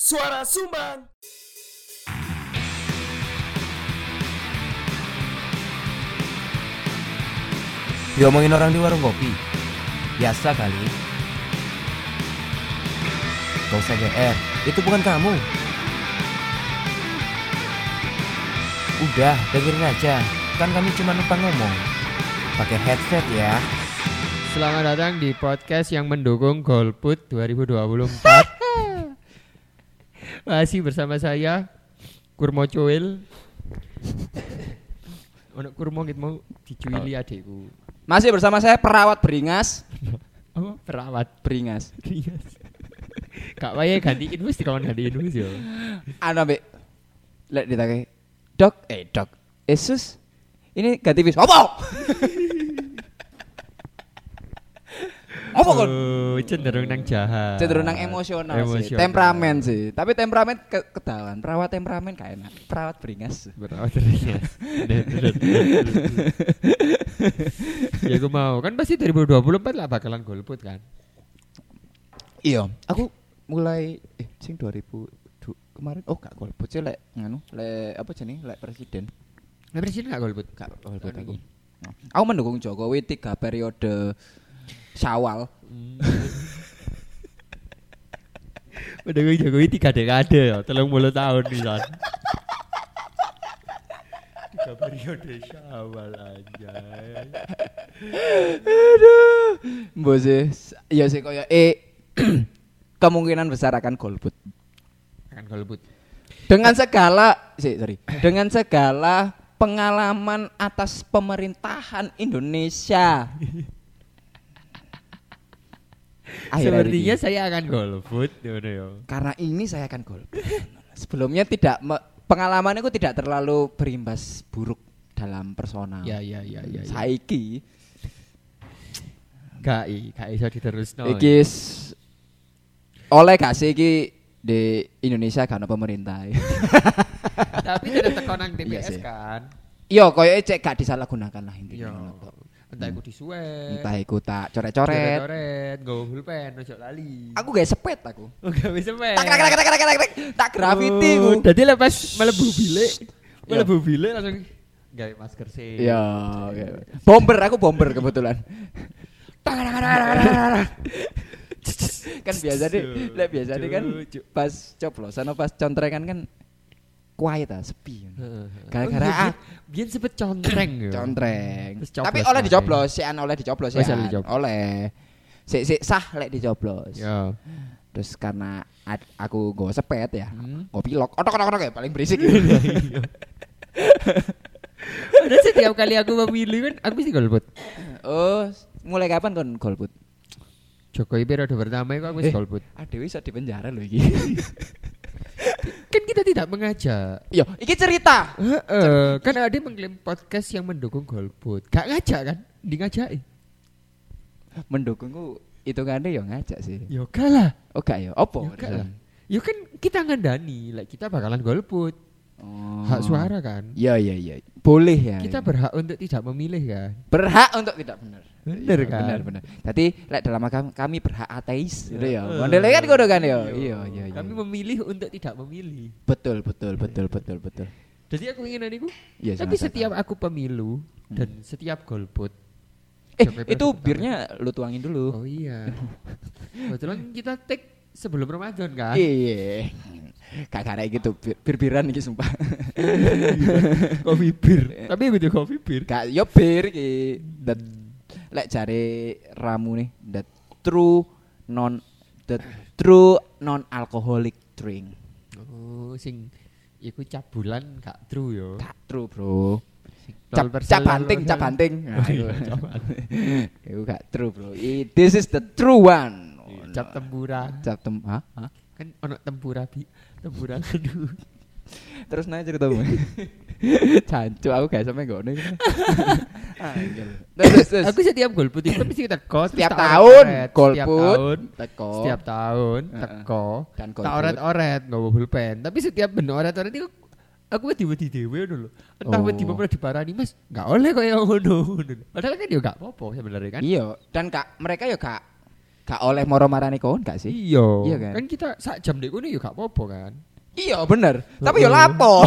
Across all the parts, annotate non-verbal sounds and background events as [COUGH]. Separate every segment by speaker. Speaker 1: Suara Sumbang.
Speaker 2: Diomongin orang di warung kopi Biasa kali Gak usah GR Itu bukan kamu Udah, dengerin aja Kan kami cuma numpang ngomong Pakai headset ya
Speaker 3: Selamat datang di podcast yang mendukung Golput 2024. Masih bersama saya Kurmo Coel. Ono Kurmo gitu mau dicuili adikku.
Speaker 4: Masih bersama saya perawat beringas,
Speaker 3: Apa perawat
Speaker 4: beringas.
Speaker 3: Rias. Kak Waye gantiin wis dikon gantiin wis yo.
Speaker 4: Ana be. Lek ditake. Dok, eh dok. Yesus. Ini ganti bis. Apa? [LAUGHS] Apa kon?
Speaker 3: Oh, cenderung nang jahat.
Speaker 4: Cenderung nang emosional, sih,
Speaker 3: Emosional.
Speaker 4: temperamen sih. Tapi temperamen ke ketahuan. Perawat temperamen kayak enak. Perawat beringas.
Speaker 3: Perawat Rias. ya aku mau kan pasti 2024 lah bakalan golput kan.
Speaker 4: Iya, aku mulai eh sing 2000 du- kemarin oh gak golput sih lek nganu lek apa jenenge lek presiden
Speaker 3: Nah, presiden gak golput?
Speaker 4: Gak golput
Speaker 3: Tahun
Speaker 4: aku.
Speaker 3: ini.
Speaker 4: Aku mendukung Jokowi tiga periode Syawal.
Speaker 3: Mendukung Jokowi tiga dekade ya, telung puluh tahun pisan. tiga periode syawal aja.
Speaker 4: Aduh. Mbok sih, s- ya sih koyo eh [CLEARS THROAT] kemungkinan besar akan golput.
Speaker 3: Kan golput.
Speaker 4: Dengan segala, sih, sorry. Dengan segala pengalaman atas pemerintahan
Speaker 3: [LAUGHS]
Speaker 4: Indonesia. Akhir-akhir
Speaker 3: Sepertinya
Speaker 4: ini.
Speaker 3: saya akan golput, ngono ya.
Speaker 4: karena ini saya akan golput. Sebelumnya tidak me- pengalaman aku tidak terlalu berimbas buruk dalam personal.
Speaker 3: Ya ya ya ya. ya.
Speaker 4: Saiki
Speaker 3: Gak i, gak iso diterusno. ya.
Speaker 4: iki s- oleh gak sih iki di Indonesia karena pemerintah. [LAUGHS]
Speaker 3: Tapi tidak tekanan TPS
Speaker 4: Iya sih.
Speaker 3: kan.
Speaker 4: Yo koyoke cek gak disalahgunakan lah intinya.
Speaker 3: Iya.
Speaker 4: ngono tok.
Speaker 3: Entah iku disuwet.
Speaker 4: Hmm. Entah iku tak coret-coret.
Speaker 3: Coret, nggawa pulpen ojo lali.
Speaker 4: Aku gak sepet aku.
Speaker 3: gak bisa men.
Speaker 4: Tak tak tak tak tak tak tak tak graffiti ku.
Speaker 3: Oh, Dadi lepas melebu bilik, melebu bilik langsung gawe masker sih. Oh,
Speaker 4: Iya, oke. bomber aku bomber
Speaker 3: [LAUGHS]
Speaker 4: kebetulan. [LAUGHS] kan biasa deh, lek biasa deh kan
Speaker 3: Cuk.
Speaker 4: pas coplosan atau pas contrengan kan quiet ah, sepi.
Speaker 3: Oh, iya,
Speaker 4: Gara-gara ah,
Speaker 3: biyen- biyen sempet contreng ya.
Speaker 4: contreng.
Speaker 3: Terus coplos
Speaker 4: Tapi oleh
Speaker 3: kabeh.
Speaker 4: dicoplos, sian oleh dicoplos
Speaker 3: Oh,
Speaker 4: ya.
Speaker 3: sian dicoplos.
Speaker 4: Oleh. Sik sik sah lek dicoplos.
Speaker 3: Ya.
Speaker 4: Terus karena ad- aku go sepet ya.
Speaker 3: Hmm.
Speaker 4: Go pilok. Otok otok otok ya paling [LAUGHS] berisik.
Speaker 3: Padahal setiap kali aku memilih kan aku mesti golput.
Speaker 4: oh, mulai kapan kon golput?
Speaker 3: Jokowi periode pertama itu aku mesti
Speaker 4: Eh.
Speaker 3: golput.
Speaker 4: Aduh, iso di penjara lho iki.
Speaker 3: Kan kita tidak mengajak.
Speaker 4: [LAUGHS] Iya, iki cerita.
Speaker 3: Heeh, kan ada mengklaim podcast yang mendukung golput. Gak ngajak kan? Di ngajak.
Speaker 4: Mendukungku hitungannya ya ngajak sih.
Speaker 3: Yo kalah.
Speaker 4: Oh gak ya, opo?
Speaker 3: Yo kalah. Yo kan kita ngandani, like kita bakalan golput.
Speaker 4: Oh.
Speaker 3: Hak suara kan.
Speaker 4: Iya, iya, iya. Boleh ya.
Speaker 3: Kita
Speaker 4: iya.
Speaker 3: berhak untuk tidak memilih kan.
Speaker 4: berhak untuk tidak benar.
Speaker 3: Bener
Speaker 4: Iya,
Speaker 3: kan?
Speaker 4: Benar, benar. Tadi lek dalam agama kami berhak ateis gitu ya.
Speaker 3: Heeh.
Speaker 4: Modelnya kan kudu kan ya. Iya, iya, iya.
Speaker 3: Eh. Kami memilih untuk tidak memilih.
Speaker 4: Betul, betul, betul, betul, betul.
Speaker 3: Jadi aku ingin adikku.
Speaker 4: Iya, Hmm.
Speaker 3: Tapi
Speaker 4: sangat,
Speaker 3: setiap aku pemilu dan setiap golput.
Speaker 4: Eh,
Speaker 3: Jokowi
Speaker 4: itu
Speaker 3: presiden
Speaker 4: birnya lu tuangin
Speaker 3: Oh
Speaker 4: dulu. [LAUGHS]
Speaker 3: iya. Kebetulan kita take sebelum Ramadan kan.
Speaker 4: Iya. Kakak kayak gitu, bir- bir-biran iki sumpah.
Speaker 3: [LAUGHS]
Speaker 4: [LAUGHS]
Speaker 3: kopi
Speaker 4: Eh.
Speaker 3: bir. Tapi gitu kopi bir.
Speaker 4: Gak yo bir iki. That lek jare ramu nih, the true non the true non alcoholic drink.
Speaker 3: Oh, sing iku cabulan gak true yo.
Speaker 4: Gak true, Bro. Cap,
Speaker 3: Nol persen,
Speaker 4: cap
Speaker 3: nol
Speaker 4: banting, cap
Speaker 3: persen. [LAUGHS]
Speaker 4: banting. Nah,
Speaker 3: Oh, iya,
Speaker 4: itu.
Speaker 3: cap
Speaker 4: [LAUGHS]
Speaker 3: banting.
Speaker 4: Itu gak true, Bro. I- This is the true one.
Speaker 3: Iya, Cap tempura.
Speaker 4: Cap tem ha? Ha?
Speaker 3: Kan ono tempura bi.
Speaker 4: [LAUGHS]
Speaker 3: Tempura aduh.
Speaker 4: Terus nanya ceritamu. [LAUGHS] Cancu aku gak sampe ngono. [LAUGHS] iki. Angel. Ah, iya. Terus terus, terus.
Speaker 3: Aku setiap golput itu mesti teko terus
Speaker 4: Setiap
Speaker 3: tak
Speaker 4: tahun
Speaker 3: oret-oret. Setiap
Speaker 4: golput
Speaker 3: tahun
Speaker 4: teko.
Speaker 3: setiap tahun
Speaker 4: Heeh.
Speaker 3: teko
Speaker 4: Dan
Speaker 3: tak
Speaker 4: golput.
Speaker 3: oret-oret nggawa pulpen tapi setiap ben oret-oret itu aku wedi-wedi dhewe ngono lho entah
Speaker 4: Oh.
Speaker 3: wedi apa diparani Mas gak oleh kaya ngono ngono lho. padahal kan yo gak apa-apa ya sebenarnya kan
Speaker 4: Iya, dan kak mereka ya kak Gak oleh moro marane kon gak sih?
Speaker 3: Iya.
Speaker 4: Iya
Speaker 3: kan?
Speaker 4: kan?
Speaker 3: kita sak jam dek kono ya gak apa-apa kan.
Speaker 4: Iya bener. Tapi
Speaker 3: Heeh.
Speaker 4: yo [LAUGHS] lapo.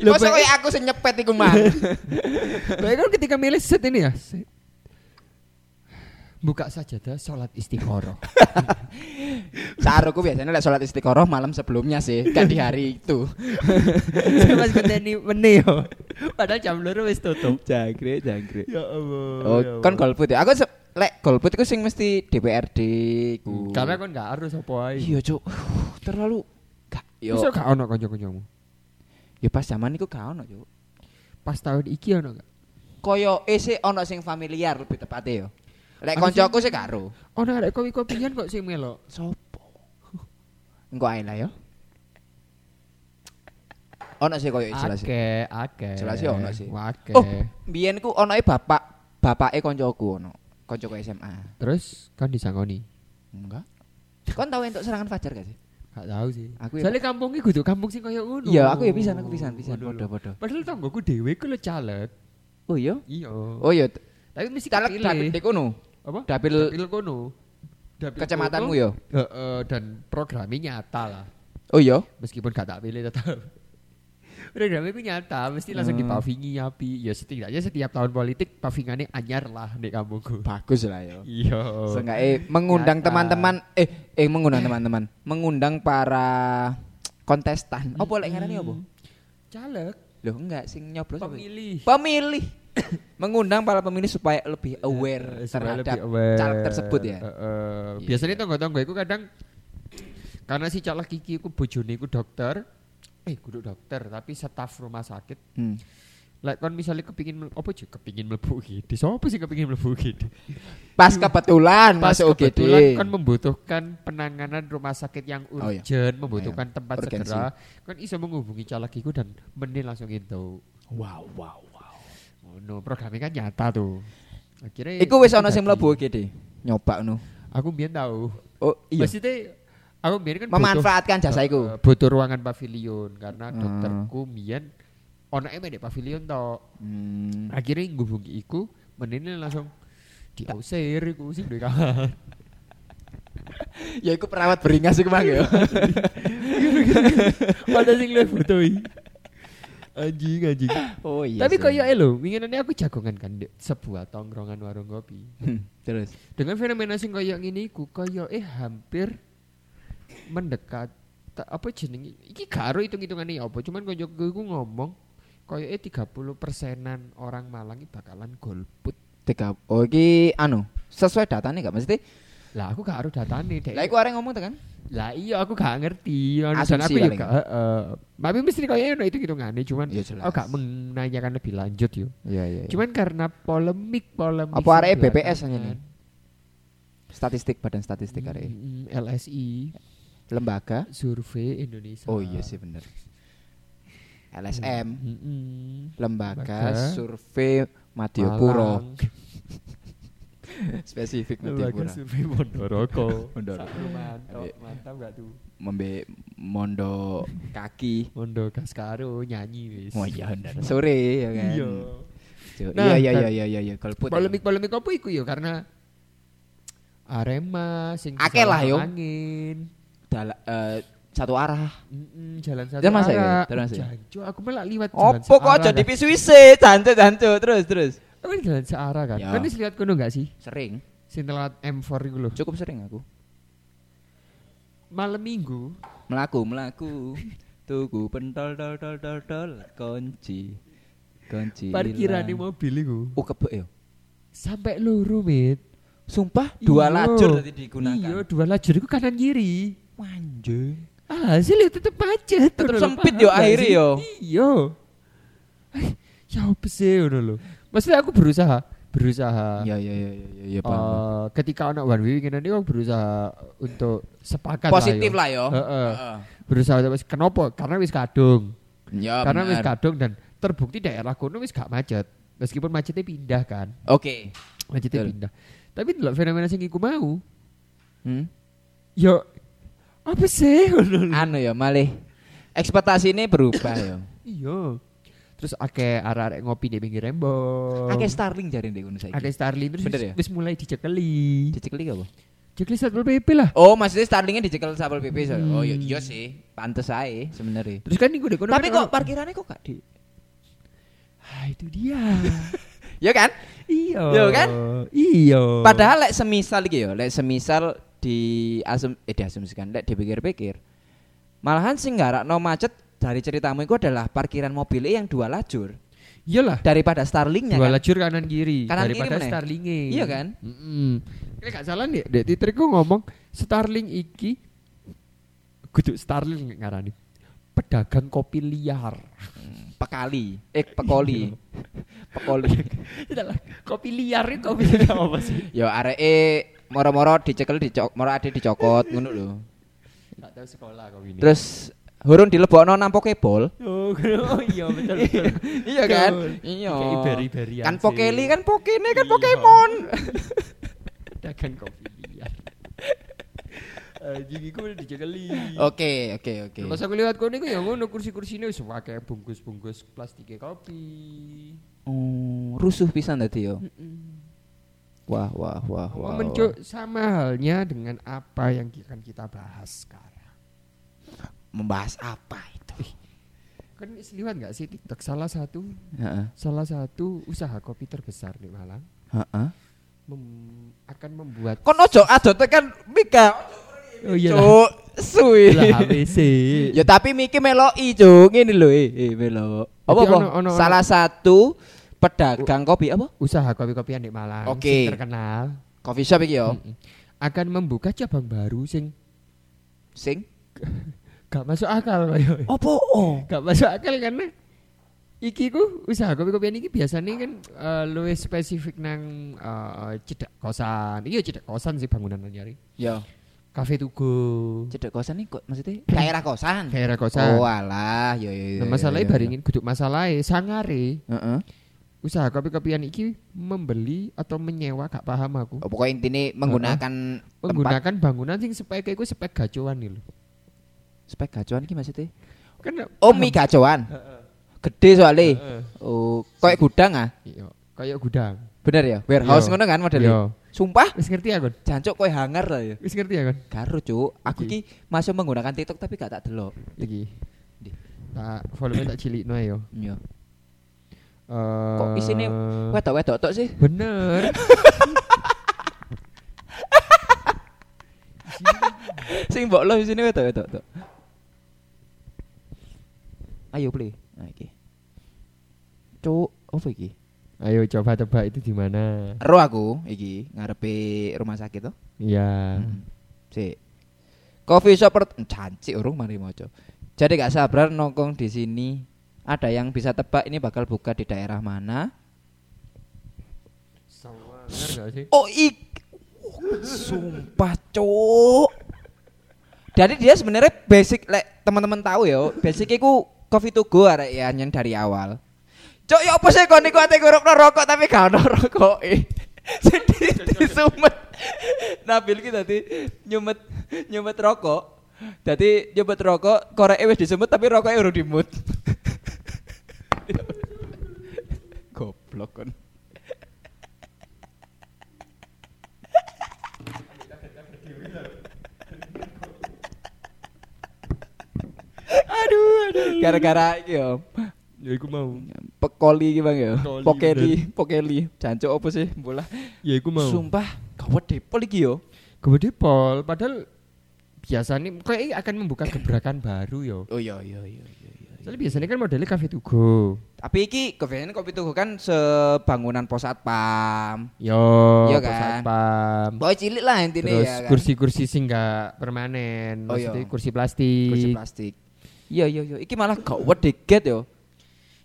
Speaker 3: Lho,
Speaker 4: Masa
Speaker 3: Pak.
Speaker 4: koyo aku sing nyepet iku mah.
Speaker 3: Baik kan ketika milih set ini ya. set. Buka sajadah salat istiqoroh.
Speaker 4: [LAUGHS] Saruku biasanya lek salat istiqoroh malam sebelumnya sih, kan di hari itu.
Speaker 3: [LAUGHS] Mas ngenteni meneh yo. Padahal jam loro wis tutup.
Speaker 4: [LAUGHS] Jangkrik, jangkrik.
Speaker 3: Ya Allah.
Speaker 4: Oh, kan golput ya. Aku se- lek golput iku sing mesti DPRD ku.
Speaker 3: Karena kan gak harus apa ae.
Speaker 4: iya, Cuk. Terlalu gak yo.
Speaker 3: Bisa gak ono kanca-kancamu?
Speaker 4: Ya pas zaman iku gak ono, Cuk.
Speaker 3: Pas tahun iki ono gak?
Speaker 4: Koyo eh sih ono sing familiar lebih tepatnya yo. Lek
Speaker 3: Aku sih-
Speaker 4: koncoku sih karo.
Speaker 3: Ono arek kopi-kopian kok sing melok.
Speaker 4: Sopo? Engko ae lah yo. Ono sih koyo iku Eh, jelas. sih.
Speaker 3: Akeh, akeh.
Speaker 4: Jelas sih ono sih.
Speaker 3: Wah, Akeh.
Speaker 4: Oh, biyen ku onoe bapak bapake koncoku ono. Koncoku SMA.
Speaker 3: Terus kan disangoni.
Speaker 4: Enggak. Kon tau entuk serangan fajar gak sih?
Speaker 3: Gak tahu sih.
Speaker 4: Aku ya-
Speaker 3: Soalnya kampungnya kudu kampung sing kaya ngono.
Speaker 4: Iya, aku ya pisan, aku pisan, pisan.
Speaker 3: Waduh,
Speaker 4: Podo,
Speaker 3: lho.
Speaker 4: podo.
Speaker 3: Padahal tanggoku dhewe ku le caleg.
Speaker 4: Oh iya.
Speaker 3: Iya.
Speaker 4: Oh iya,
Speaker 3: tapi mesti
Speaker 4: caleg dapil
Speaker 3: kepilih.
Speaker 4: kono.
Speaker 3: Apa?
Speaker 4: dapil-
Speaker 3: dapil kono. Dapil
Speaker 4: Kecamatanmu
Speaker 3: kono.
Speaker 4: ya.
Speaker 3: Heeh, dan programnya nyata lah.
Speaker 4: Oh iya.
Speaker 3: Meskipun gak tak pilih tetap. Programnya ku nyata, mesti langsung
Speaker 4: Hmm.
Speaker 3: dipavingi api. Ya setidaknya setiap tahun politik pavingannya anyar lah di kampungku.
Speaker 4: Bagus lah yo.
Speaker 3: Iya.
Speaker 4: Seenggaknya eh, mengundang
Speaker 3: Nyata.
Speaker 4: teman-teman eh eh mengundang teman-teman, mengundang para kontestan. Apa lek ngarani apa?
Speaker 3: Caleg,
Speaker 4: Loh, enggak sing nyoblos ya, apa?
Speaker 3: Hmm. pemilih. [COUGHS]
Speaker 4: Pemilih. mengundang para pemilih supaya lebih aware
Speaker 3: Eh, supaya
Speaker 4: terhadap
Speaker 3: lebih aware.
Speaker 4: caleg tersebut ya.
Speaker 3: Eh, eh,
Speaker 4: Iya.
Speaker 3: Biasanya tonggo-tonggo itu kadang karena si caleg kiki ku bojone ku dokter, eh kudu dokter tapi staf rumah sakit.
Speaker 4: Hmm.
Speaker 3: Lek kon misalnya kepingin mel- apa sih kepingin mlebu UGD. Sopo sih kepingin mlebu UGD?
Speaker 4: Pas kebetulan
Speaker 3: Pas
Speaker 4: masuk UGD.
Speaker 3: kebetulan kan membutuhkan penanganan rumah sakit yang urgent,
Speaker 4: Oh, iya.
Speaker 3: membutuhkan tempat
Speaker 4: Urgensi.
Speaker 3: segera. Kan iso menghubungi caleg iku dan menil langsung itu.
Speaker 4: Wow, wow, wow.
Speaker 3: Ngono, programnya kan nyata tuh. Akhirnya
Speaker 4: Iku wis ana
Speaker 3: jadi.
Speaker 4: sing mlebu UGD. Nyoba ngono.
Speaker 3: Aku mbiyen tahu.
Speaker 4: Oh iya.
Speaker 3: Maksudnya aku biar kan
Speaker 4: Memanfaatkan
Speaker 3: butuh,
Speaker 4: jasa iku.
Speaker 3: eh, butuh ruangan pavilion karena
Speaker 4: Hmm.
Speaker 3: dokterku biar onake mendek pavilion to.
Speaker 4: Hmm.
Speaker 3: Akhirnya ngubungi iku menene langsung diusir iku sing duwe kamar.
Speaker 4: Ya iku perawat beringas iku mang
Speaker 3: [LAUGHS]
Speaker 4: ya.
Speaker 3: Padahal sing luwih butuh iki. Anjing anjing.
Speaker 4: Oh iya.
Speaker 3: Tapi
Speaker 4: sih.
Speaker 3: koyo elo, winginane aku jagongan kan di sebuah tongkrongan warung kopi.
Speaker 4: Hmm, terus.
Speaker 3: Dengan fenomena sing koyo ngene iku koyo eh hampir mendekat ta- apa jenenge iki karo hitung-hitungane ya apa cuman konjoku iku ngomong koyo eh 30 persenan orang Malang iki bakalan golput.
Speaker 4: Tiga. Oh iki anu, sesuai datanya gak mesti?
Speaker 3: Lah aku gak karo datane dek.
Speaker 4: Lah iku arek ngomong tekan.
Speaker 3: Lah iya aku gak ngerti. Dan
Speaker 4: Asumsi
Speaker 3: aku juga
Speaker 4: paling.
Speaker 3: heeh. Tapi mesti koyo ono hitung-hitungane cuman
Speaker 4: Iya, jelas.
Speaker 3: aku gak menanyakan lebih lanjut yo.
Speaker 4: Iya iya. Cuma
Speaker 3: Cuman karena polemik polemik.
Speaker 4: Apa arek BPS aja nih? statistik badan statistik
Speaker 3: Hmm.
Speaker 4: arek.
Speaker 3: LSI
Speaker 4: Lembaga.
Speaker 3: Survei Indonesia.
Speaker 4: Oh iya sih bener. LSM,
Speaker 3: Mm-mm. Hmm.
Speaker 4: Lembaga
Speaker 3: Lembaga.
Speaker 4: Survei Madiopuro. [LAUGHS]
Speaker 3: Malang.
Speaker 4: Spesifik
Speaker 3: Lembaga
Speaker 4: Madiopuro.
Speaker 3: survei Mondoroko.
Speaker 4: [LAUGHS] Mondoroko.
Speaker 3: Satu mantap, mantap gak tuh?
Speaker 4: Membe Mondo kaki.
Speaker 3: Mondo Kaskaro nyanyi wis.
Speaker 4: Oh
Speaker 3: [LAUGHS]
Speaker 4: iya bener. Sore ya kan.
Speaker 3: Iya.
Speaker 4: Cuk,
Speaker 3: Nah,
Speaker 4: Iya iya
Speaker 3: kan-
Speaker 4: iya iya iya iya golput. ya.
Speaker 3: Polemik-polemik apa iku ya karena Arema sing
Speaker 4: Akeh lah, yo.
Speaker 3: kesalahan Angin.
Speaker 4: Dala- eh, satu arah.
Speaker 3: Mm-mm, jalan satu
Speaker 4: Jalan masa ya?
Speaker 3: arah.
Speaker 4: Jalan masa ya?
Speaker 3: Jancu, aku malah liwat jalan
Speaker 4: Opo kok
Speaker 3: searah
Speaker 4: aja
Speaker 3: kan.
Speaker 4: dipisuise, jancuk jancuk terus terus.
Speaker 3: Aku kan jalan searah kan.
Speaker 4: Ya.
Speaker 3: Kan wis liwat kono gak sih?
Speaker 4: Sering,
Speaker 3: Sing telat M4 iku lho.
Speaker 4: cukup sering aku.
Speaker 3: Malam Minggu
Speaker 4: Melaku, melaku. Tuku pentol tol tol tol tol kunci. Kunci.
Speaker 3: parkiran
Speaker 4: ilang.
Speaker 3: mobil iku
Speaker 4: Oh kebek yo.
Speaker 3: sampai luru mit.
Speaker 4: Sumpah dua
Speaker 3: Iya.
Speaker 4: lajur tadi
Speaker 3: Iya,
Speaker 4: digunakan.
Speaker 3: dua lajur itu kanan kiri.
Speaker 4: Anjing.
Speaker 3: Hasil ya tetep macet.
Speaker 4: Tetep
Speaker 3: ngono lho,
Speaker 4: sempit
Speaker 3: paham
Speaker 4: yo
Speaker 3: gak
Speaker 4: akhirnya
Speaker 3: sih?
Speaker 4: yo.
Speaker 3: Iya. Eh, Ya apa sih ngono lho. Maksudnya aku berusaha, berusaha.
Speaker 4: Ya ya ya ya ya,
Speaker 3: Eh,
Speaker 4: ya paham.
Speaker 3: ketika anak one way ngene aku berusaha untuk sepakat
Speaker 4: Positif
Speaker 3: lah.
Speaker 4: Kan lah yo.
Speaker 3: Heeh.
Speaker 4: Heeh.
Speaker 3: yo. Berusaha untuk- kenapa? Karena wis kadung.
Speaker 4: Ya
Speaker 3: Karena wis
Speaker 4: benar.
Speaker 3: kadung dan terbukti daerah kono wis gak macet. Meskipun macetnya pindah kan.
Speaker 4: Oke.
Speaker 3: Macetnya
Speaker 4: Betul.
Speaker 3: pindah. Tapi delok fenomena sing iku mau,
Speaker 4: Hmm?
Speaker 3: yo apa
Speaker 4: [LAUGHS]
Speaker 3: sih ngono lho.
Speaker 4: Anu ya malih. Ekspektasi ini berubah yo.
Speaker 3: Iya. Terus akeh arek-arek ngopi di pinggir rembong.
Speaker 4: Akeh Starling jare ndek ngono saiki.
Speaker 3: Oh. Akeh Starling terus
Speaker 4: Bener
Speaker 3: wis,
Speaker 4: ya?
Speaker 3: wis mulai dicekeli.
Speaker 4: Dicekli apa?
Speaker 3: Checklist Satpol PP lah.
Speaker 4: Oh, maksudnya starlingnya dicekel Satpol PP. so.
Speaker 3: Hmm.
Speaker 4: Oh, iya, iya sih. Pantes aja sebenarnya.
Speaker 3: Terus kan iku dek kono
Speaker 4: Tapi
Speaker 3: kan
Speaker 4: kok
Speaker 3: orang-
Speaker 4: parkirannya kok gak di
Speaker 3: Ah, itu
Speaker 4: [LAUGHS]
Speaker 3: dia.
Speaker 4: Ya kan?
Speaker 3: iya.
Speaker 4: Yo, kan?
Speaker 3: Iya.
Speaker 4: Padahal lek semisal iki ya, lek semisal di asum eh diasumsikan lek dipikir-pikir. Malahan sing ngarakno macet dari ceritamu itu adalah parkiran mobil yang dua lajur
Speaker 3: iyalah.
Speaker 4: daripada Starlingnya
Speaker 3: Dua
Speaker 4: kan.
Speaker 3: lajur kanan kiri
Speaker 4: Kanan kiri
Speaker 3: daripada
Speaker 4: meneh.
Speaker 3: Starlinge.
Speaker 4: Iya kan?
Speaker 3: Heeh. gak salah nih, Dek Twitter ku ngomong Starling iki kudu Starling ngarani. Pedagang kopi [LAUGHS] liar.
Speaker 4: Pekali, eh
Speaker 3: [LAUGHS]
Speaker 4: pekoli. pekoli.
Speaker 3: Itulah kopi liar itu kopi liar apa sih?
Speaker 4: Yo areke moro-moro dicekel dicok, moro ade dicokot ngono lho.
Speaker 3: Gak tahu sekolah kau ini.
Speaker 4: Terus hurun dilebokno nampo kebol.
Speaker 3: Oh, oh iya betul betul.
Speaker 4: [LAUGHS] iya kan?
Speaker 3: Betul.
Speaker 4: Iya.
Speaker 3: Kayak iberi-iberian
Speaker 4: Kan
Speaker 3: sih.
Speaker 4: pokeli kan pokene kan
Speaker 3: Iya.
Speaker 4: Pokemon.
Speaker 3: Pedagang kopi liar. [LAUGHS] Anjing iku dicekeli.
Speaker 4: Oke, oke, oke.
Speaker 3: Pas aku lihat kono iku ya ngono kursi-kursine wis akeh bungkus-bungkus plastiknya kopi.
Speaker 4: Oh, rusuh pisan tadi yo. Wah, wah, wah, wah.
Speaker 3: Momen,
Speaker 4: wah.
Speaker 3: Cuk, sama halnya dengan apa yang ki- akan kita bahas sekarang.
Speaker 4: Membahas apa itu?
Speaker 3: Kan is liwat nggak sih TikTok salah satu
Speaker 4: Heeh.
Speaker 3: salah satu usaha kopi terbesar di Malang
Speaker 4: Heeh.
Speaker 3: mem- akan membuat
Speaker 4: Kon ojo adot tekan Mika.
Speaker 3: oh
Speaker 4: [LAUGHS] Cuk,
Speaker 3: Iya
Speaker 4: suwi.
Speaker 3: HBC.
Speaker 4: Ya tapi Miki meloki, Cuk. Ngene lho, eh, eh melo. Apa
Speaker 3: Jadi
Speaker 4: apa?
Speaker 3: ono- ono- ono.
Speaker 4: Salah satu pedagang kopi apa?
Speaker 3: usaha kopi-kopian di Malang
Speaker 4: Oke. Oh.
Speaker 3: sing terkenal
Speaker 4: Coffee shop iki yo.
Speaker 3: Mm-mm. akan membuka cabang baru sing
Speaker 4: Sing.
Speaker 3: gak masuk akal koyo.
Speaker 4: Opo? Oh.
Speaker 3: gak masuk akal karena iki ku usaha kopi-kopian iki biasanya kan eh, luwih spesifik nang eh, cedak kosan. Iya cedak kosan sih bangunan nyari.
Speaker 4: Yo.
Speaker 3: Cafe Tugu.
Speaker 4: Cedek kosan nih kok maksudnya daerah kosan.
Speaker 3: Daerah kosan.
Speaker 4: Oh iya, alah, yo yo. yo,
Speaker 3: nah,
Speaker 4: yo,
Speaker 3: masalahnya
Speaker 4: yo, yo.
Speaker 3: baringin kudu masalahnya sangare
Speaker 4: Heeh.
Speaker 3: usaha kopi-kopian iki membeli atau menyewa gak paham aku.
Speaker 4: Oh, pokoknya intinya menggunakan tempat
Speaker 3: Menggunakan bangunan sing spek iku spek gacuan nih lho.
Speaker 4: spek gacoan ki maksudnya
Speaker 3: Kan
Speaker 4: oh mie gacoan gede soalnya
Speaker 3: Heeh.
Speaker 4: oh kayak gudang ah
Speaker 3: Iya, kayak gudang.
Speaker 4: bener ya warehouse
Speaker 3: Iya.
Speaker 4: ngono kan
Speaker 3: Iya.
Speaker 4: modelnya sumpah
Speaker 3: Wis ngerti ya, Kon?
Speaker 4: jancuk koy hangar lah ya
Speaker 3: Wis ngerti ya, Kon?
Speaker 4: garu cuk aku
Speaker 3: Iya.
Speaker 4: ki masuk menggunakan tiktok tapi gak tak delok
Speaker 3: Iki.
Speaker 4: Di.
Speaker 3: Tak volume tak cilikno ya.
Speaker 4: iya
Speaker 3: Eh,
Speaker 4: kok isine wedok wedok tok sih
Speaker 3: Bener.
Speaker 4: sing mbok lo isine wedok wedok tok ayo play nah iki cuk apa iki
Speaker 3: [LAUGHS] Ayo coba tebak itu di mana?
Speaker 4: ro aku iki ngarepe rumah sakit tuh
Speaker 3: Iya.
Speaker 4: Hmm. Si. Coffee shop per janji urung mari moco. Jadi gak sabar nongkrong di sini. Ada yang bisa tebak ini bakal buka di daerah mana?
Speaker 3: Sama bener gak sih?
Speaker 4: Oh ik. Sumpah cuk. Jadi dia sebenarnya basic lek teman-teman tahu ya, basic iku coffee to go arek ya nyen dari awal. Cuk ya apa sih kon niku ate ngurupno rokok tapi gak ono rokoke. [LAUGHS] Jadi disumet. Nabil ki tadi nyumet nyumet rokok. Jadi nyumet rokok, koreke wis disumet tapi rokoknya urung dimut. [LAUGHS] Goblok kon. aduh, aduh. Gara-gara iki yo.
Speaker 3: Ya iku mau.
Speaker 4: Pekoli iki Bang yo.
Speaker 3: Pekoli,
Speaker 4: Pokeli, pokeli. Jancuk opo sih bola?
Speaker 3: Ya iku mau.
Speaker 4: Sumpah, gawat depol iki yo.
Speaker 3: Gede pol, padahal biasanya kayak akan membuka gebrakan baru yo.
Speaker 4: Oh iya iya iya iya.
Speaker 3: Soalnya biasanya kan modelnya cafe to go.
Speaker 4: Tapi iki kebiasaan kopi tuku kan sebangunan pos satpam.
Speaker 3: Yo,
Speaker 4: Iya
Speaker 3: pos
Speaker 4: kan?
Speaker 3: satpam.
Speaker 4: Pokoknya cilik lah intinya
Speaker 3: Terus
Speaker 4: ya kan.
Speaker 3: kursi-kursi sih nggak permanen,
Speaker 4: Oh, iya.
Speaker 3: maksudnya kursi plastik.
Speaker 4: kursi plastik. Iya iya iya, iki malah gawat deket yo.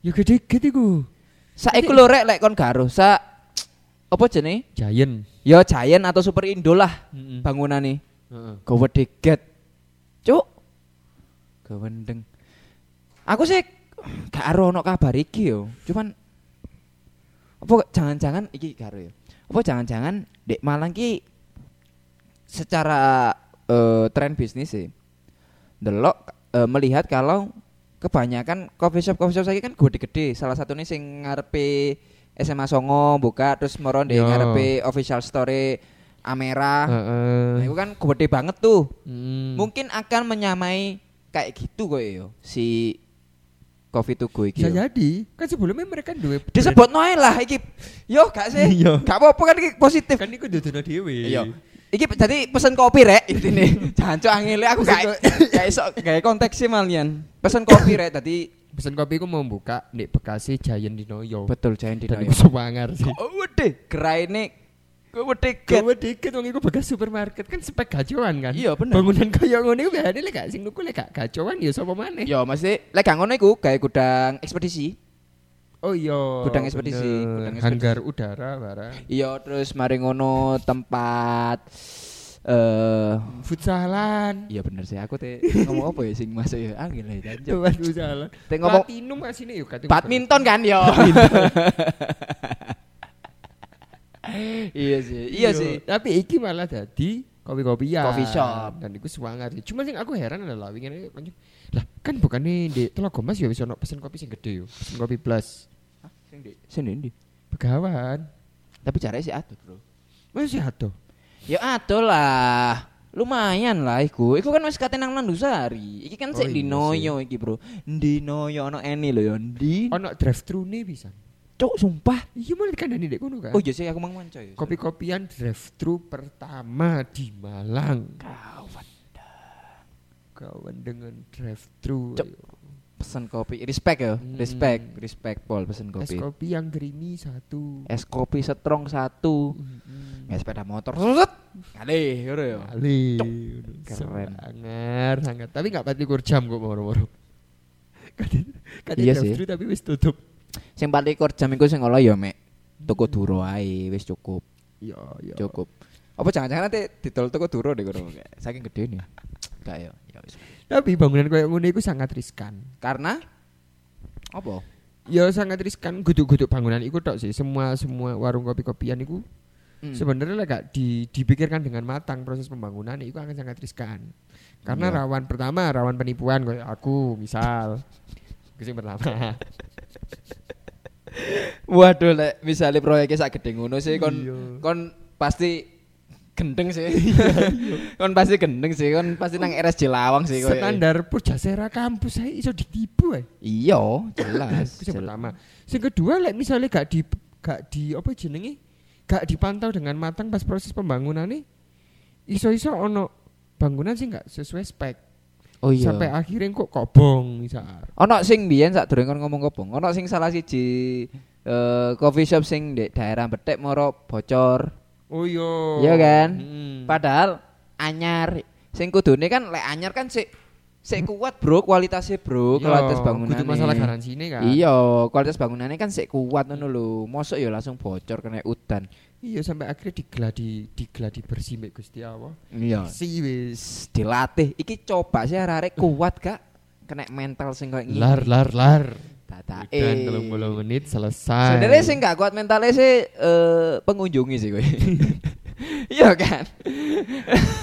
Speaker 3: Ya gede gede iku.
Speaker 4: Saiki lho rek lek kon garo sa apa jenenge?
Speaker 3: Giant.
Speaker 4: Ya Giant atau Super Indo lah
Speaker 3: Heeh.
Speaker 4: bangunan nih.
Speaker 3: Heeh.
Speaker 4: Gawat deket. Cuk. Gawendeng. Aku sih gak ero ono kabar iki yo. Cuman apa jangan-jangan iki karo ya. Apa jangan-jangan Dek Malang ki secara eh, tren bisnis sih. Delok eh, melihat kalau kebanyakan coffee shop coffee shop saiki kan gede-gede. Salah satunya sing ngarepe SMA Songo buka terus moro ndek
Speaker 3: Yo. Eh.
Speaker 4: ngarepe official store Amera.
Speaker 3: Heeh.
Speaker 4: Nah, itu kan gede banget tuh.
Speaker 3: Hmm.
Speaker 4: Mungkin akan menyamai kayak gitu kok yo si Covid tuh gue
Speaker 3: Bisa jadi. Kan sebelumnya mereka duwe brand.
Speaker 4: Disebut noe lah iki. Yo gak sih?
Speaker 3: Iya.
Speaker 4: Gak apa-apa kan iki positif.
Speaker 3: kan iku dudono dhewe.
Speaker 4: Iya. Iki jadi pesen kopi rek intine. [LAUGHS] Jancuk angele aku gak [LAUGHS] gak iso gawe konteksnya malian. Pesen kopi rek tadi
Speaker 3: Pesen kopi ku mau buka di Bekasi Giant Dinoyo.
Speaker 4: [LAUGHS] betul Jayan di
Speaker 3: Dan
Speaker 4: [LAUGHS]
Speaker 3: iku semangar sih.
Speaker 4: Wedhe, Oh, geraine wedhe get.
Speaker 3: Kowe dikit wong iku bekas supermarket kan spek gacoan kan.
Speaker 4: Iya, bener.
Speaker 3: Bangunan kaya ngono iku biasane lek gak sing nuku lek gak gacoan ya sapa maneh.
Speaker 4: Yo mesti lek gak ngono iku gawe gudang ekspedisi.
Speaker 3: Oh iya.
Speaker 4: Gudang ekspedisi,
Speaker 3: bener.
Speaker 4: gudang ekspedisi.
Speaker 3: Hanggar udara barang.
Speaker 4: Iya terus mari ngono tempat eh
Speaker 3: Futsalan.
Speaker 4: iya bener sih aku teh ngomong apa ya sing masuk ya angel ya jancuk.
Speaker 3: Tuan futsalan.
Speaker 4: Teh ngomong-
Speaker 3: platinum asine yo katanya.
Speaker 4: [LAUGHS] Badminton kan yo. [LAUGHS] iya sih, iya sih.
Speaker 3: Tapi iki malah jadi kopi-kopian.
Speaker 4: Coffee shop.
Speaker 3: Dan iku semangat sih. Cuma sing aku heran adalah wingi kan lah kan bukannya di Telaga Mas ya bisa ono pesen kopi sing gede yo. Pesen kopi plus.
Speaker 4: Sini ndi?
Speaker 3: Begawan.
Speaker 4: Tapi caranya sih aduh, Bro.
Speaker 3: Masih ada.
Speaker 4: Ya aduh lah. Lumayan lah iku. Iku kan wis kate nang Landusari. Iki kan
Speaker 3: Oh,
Speaker 4: sik
Speaker 3: iya
Speaker 4: di Noyo iki, Bro. Di Noyo ono eni lho ya. Di
Speaker 3: Ono drive thru nih bisa.
Speaker 4: Cuk, sumpah.
Speaker 3: Iya malah dikandani dek kono kan.
Speaker 4: Oh iya sih aku mang mancoy.
Speaker 3: Kopi-kopian drive thru pertama di Malang.
Speaker 4: kawan.
Speaker 3: Kawan dengan drive thru.
Speaker 4: Cep. Pesen kopi. Respect ya.
Speaker 3: Hmm.
Speaker 4: Respect, respect Pol
Speaker 3: Es
Speaker 4: pesen kopi. Eh,
Speaker 3: kopi yang creamy satu.
Speaker 4: Es kopi strong satu.
Speaker 3: Mm-mm.
Speaker 4: Nggak sepeda motor. Sut. Kali, ngono ya.
Speaker 3: Kali.
Speaker 4: Keren.
Speaker 3: Sangat, sangat. Tapi nggak 24 jam kok moro-moro. [LAUGHS] Kadang- kadang
Speaker 4: Iya
Speaker 3: drive-thru tapi wis tutup.
Speaker 4: Sing paling kor jam iku sing ngolah ya mek. Toko duro ae wis cukup,
Speaker 3: Iya, iya.
Speaker 4: cukup. Apa jangan-jangan nanti didol toko duro deh kono kayak saking gede nih. Enggak ya. Ya wis.
Speaker 3: Tapi bangunan kayak ngono iku sangat riskan.
Speaker 4: Karena apa?
Speaker 3: Ya sangat riskan guduk-guduk bangunan iku tok sih. Semua semua warung kopi-kopian iku
Speaker 4: Hmm.
Speaker 3: sebenarnya lah gak di- dipikirkan dengan matang proses pembangunan itu akan sangat riskan karena
Speaker 4: Iya.
Speaker 3: rawan pertama rawan penipuan kayak aku misal Itu sing pertama
Speaker 4: Waduh lek misale proyeknya sak gede ngono sih kon
Speaker 3: Iya.
Speaker 4: kon pasti gendeng sih. [LAUGHS] kon pasti gendeng sih, Iya, kon pasti nang RSJ Lawang sih koyo.
Speaker 3: standar pujasera kampus saya iso ditipu eh.
Speaker 4: Iya, jelas.
Speaker 3: Itu sing
Speaker 4: Jel-
Speaker 3: pertama sing kedua lek misalnya gak di gak di apa jenenge gak dipantau dengan matang pas proses pembangunan nih iso-iso ono bangunan sih gak sesuai spek
Speaker 4: Oh iya.
Speaker 3: sampai akhirnya kok kobong misal
Speaker 4: Ono sing biyen sadurunge kon ngomong kobong. Ono sing salah siji eh, coffee shop sing di daerah Betek moro bocor.
Speaker 3: oh iya
Speaker 4: Iya kan?
Speaker 3: Mm.
Speaker 4: Padahal anyar sing kudune kan lek anyar kan sik sik kuat, Bro, kualitasnya, Bro,
Speaker 3: Iya,
Speaker 4: kualitas
Speaker 3: kudu
Speaker 4: bangunannya.
Speaker 3: masalah garansi ini kan
Speaker 4: Iya, kualitas bangunannya kan sik kuat ngono lho. Mosok ya langsung bocor kena udan.
Speaker 3: Iya sampai akhirnya digeladi digeladi bersih mbek Gusti Allah.
Speaker 4: Iya.
Speaker 3: Si wis
Speaker 4: Dilatih. Iki coba sih arek kuat, Kak. Kena mental sing koyo ngene.
Speaker 3: lar lar lar.
Speaker 4: Tatae.
Speaker 3: Dan telung puluh menit selesai.
Speaker 4: Sebenarnya sih nggak kuat mentalnya sih eh, pengunjungi sih gue. [LAUGHS] Iya kan?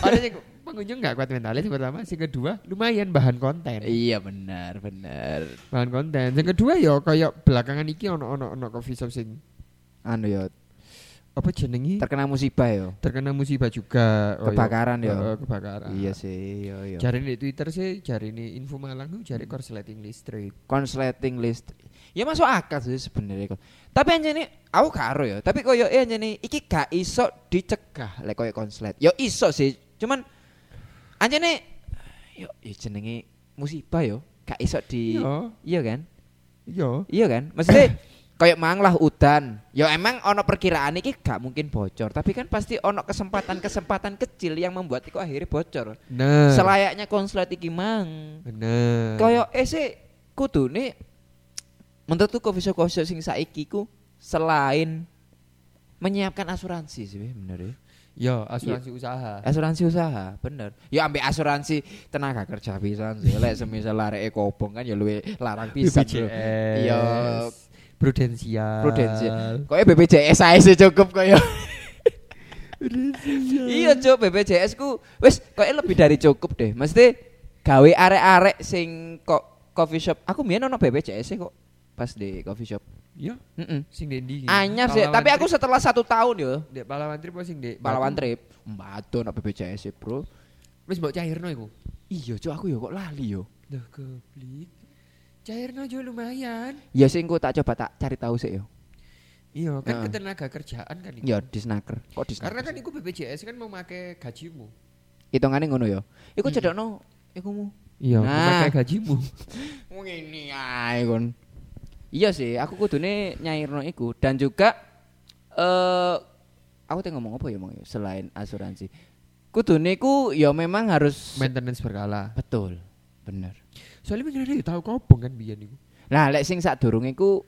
Speaker 3: ada yang pengunjung nggak kuat mentalnya sih pertama, sing kedua lumayan bahan konten.
Speaker 4: Iya benar benar.
Speaker 3: Bahan konten. Yang kedua ya kayak belakangan iki ono ono ono coffee shop sing
Speaker 4: Anu yo
Speaker 3: apa jenengi
Speaker 4: terkena musibah yo.
Speaker 3: terkena musibah juga Oh, iya.
Speaker 4: Kebakaran ya.
Speaker 3: Heeh, kebakaran
Speaker 4: Iya sih yo yo.
Speaker 3: jari di twitter sih jari ini info malang tuh jari korsleting listrik
Speaker 4: Konsleting list. Ya masuk akal sih sebenarnya kok. Tapi anjir nih, aku karo ya. Tapi koyo eh anjir nih, iki gak iso dicegah lek koyo konslet. Yo iso sih, cuman anjir nih, yo, yo jenenge musibah yo. Gak iso di,
Speaker 3: Iya.
Speaker 4: iya kan?
Speaker 3: iya
Speaker 4: Iya kan? Maksudnya [CLEARS THROAT] kayak mang lah udan. Ya emang ono perkiraan iki gak mungkin bocor, tapi kan pasti ono kesempatan-kesempatan kecil yang membuat iku akhirnya bocor.
Speaker 3: nah
Speaker 4: Selayaknya konslet iki mang.
Speaker 3: bener
Speaker 4: Kayak eh sih kudune menurutku coffee shop coffee shop sing saiki ku selain menyiapkan asuransi sih bener ya.
Speaker 3: Ya, asuransi
Speaker 4: Iya.
Speaker 3: usaha.
Speaker 4: Asuransi usaha, bener. Ya ambek asuransi tenaga kerja pisan sih. Lek semisal lareke kobong kan ya luwe larang pisan. bro.
Speaker 3: BPJS.
Speaker 4: Iya,
Speaker 3: Prudensial.
Speaker 4: Prudensial. Kok BPJS ae sih cukup kok ya. Iya, Cuk, BPJS ku wis kok lebih dari cukup deh. Mesti gawe arek-arek sing kok coffee shop. Aku mien ono BPJS -e kok pas di coffee shop.
Speaker 3: Iya,
Speaker 4: Mm-mm.
Speaker 3: sing dendi.
Speaker 4: Anyar sih, tapi aku setelah satu tahun yo
Speaker 3: Dek pahlawan trip apa sing dek.
Speaker 4: pahlawan trip. Mbatu nak BPJS sih, e, Bro.
Speaker 3: Wis mbok cairno iku.
Speaker 4: Iya, cuk aku yo kok lali yo.
Speaker 3: Duh keblik. Cairno juga lumayan.
Speaker 4: Ya sih engko tak coba tak cari tahu sih yo.
Speaker 3: Iya, kan
Speaker 4: Heeh.
Speaker 3: ketenaga kerjaan kan iku.
Speaker 4: Ya disnaker. Kok disnaker?
Speaker 3: Karena kan iku BPJS kan mau make gajimu.
Speaker 4: hitungane ngono yo. Iku cedokno iku mu.
Speaker 3: Iya,
Speaker 4: mau make
Speaker 3: gajimu.
Speaker 4: Ngene ae kon. Iya sih, aku kudune nyairno iku dan juga eh aku teh ngomong apa ya Mong, ya? selain asuransi. Kudune iku ya memang harus
Speaker 3: [LAUGHS] Maintenance berkala.
Speaker 4: betul. Bener.
Speaker 3: Soalnya pikirannya ya tahu kobong kan biyen iku.
Speaker 4: Nah, lek sing sadurunge iku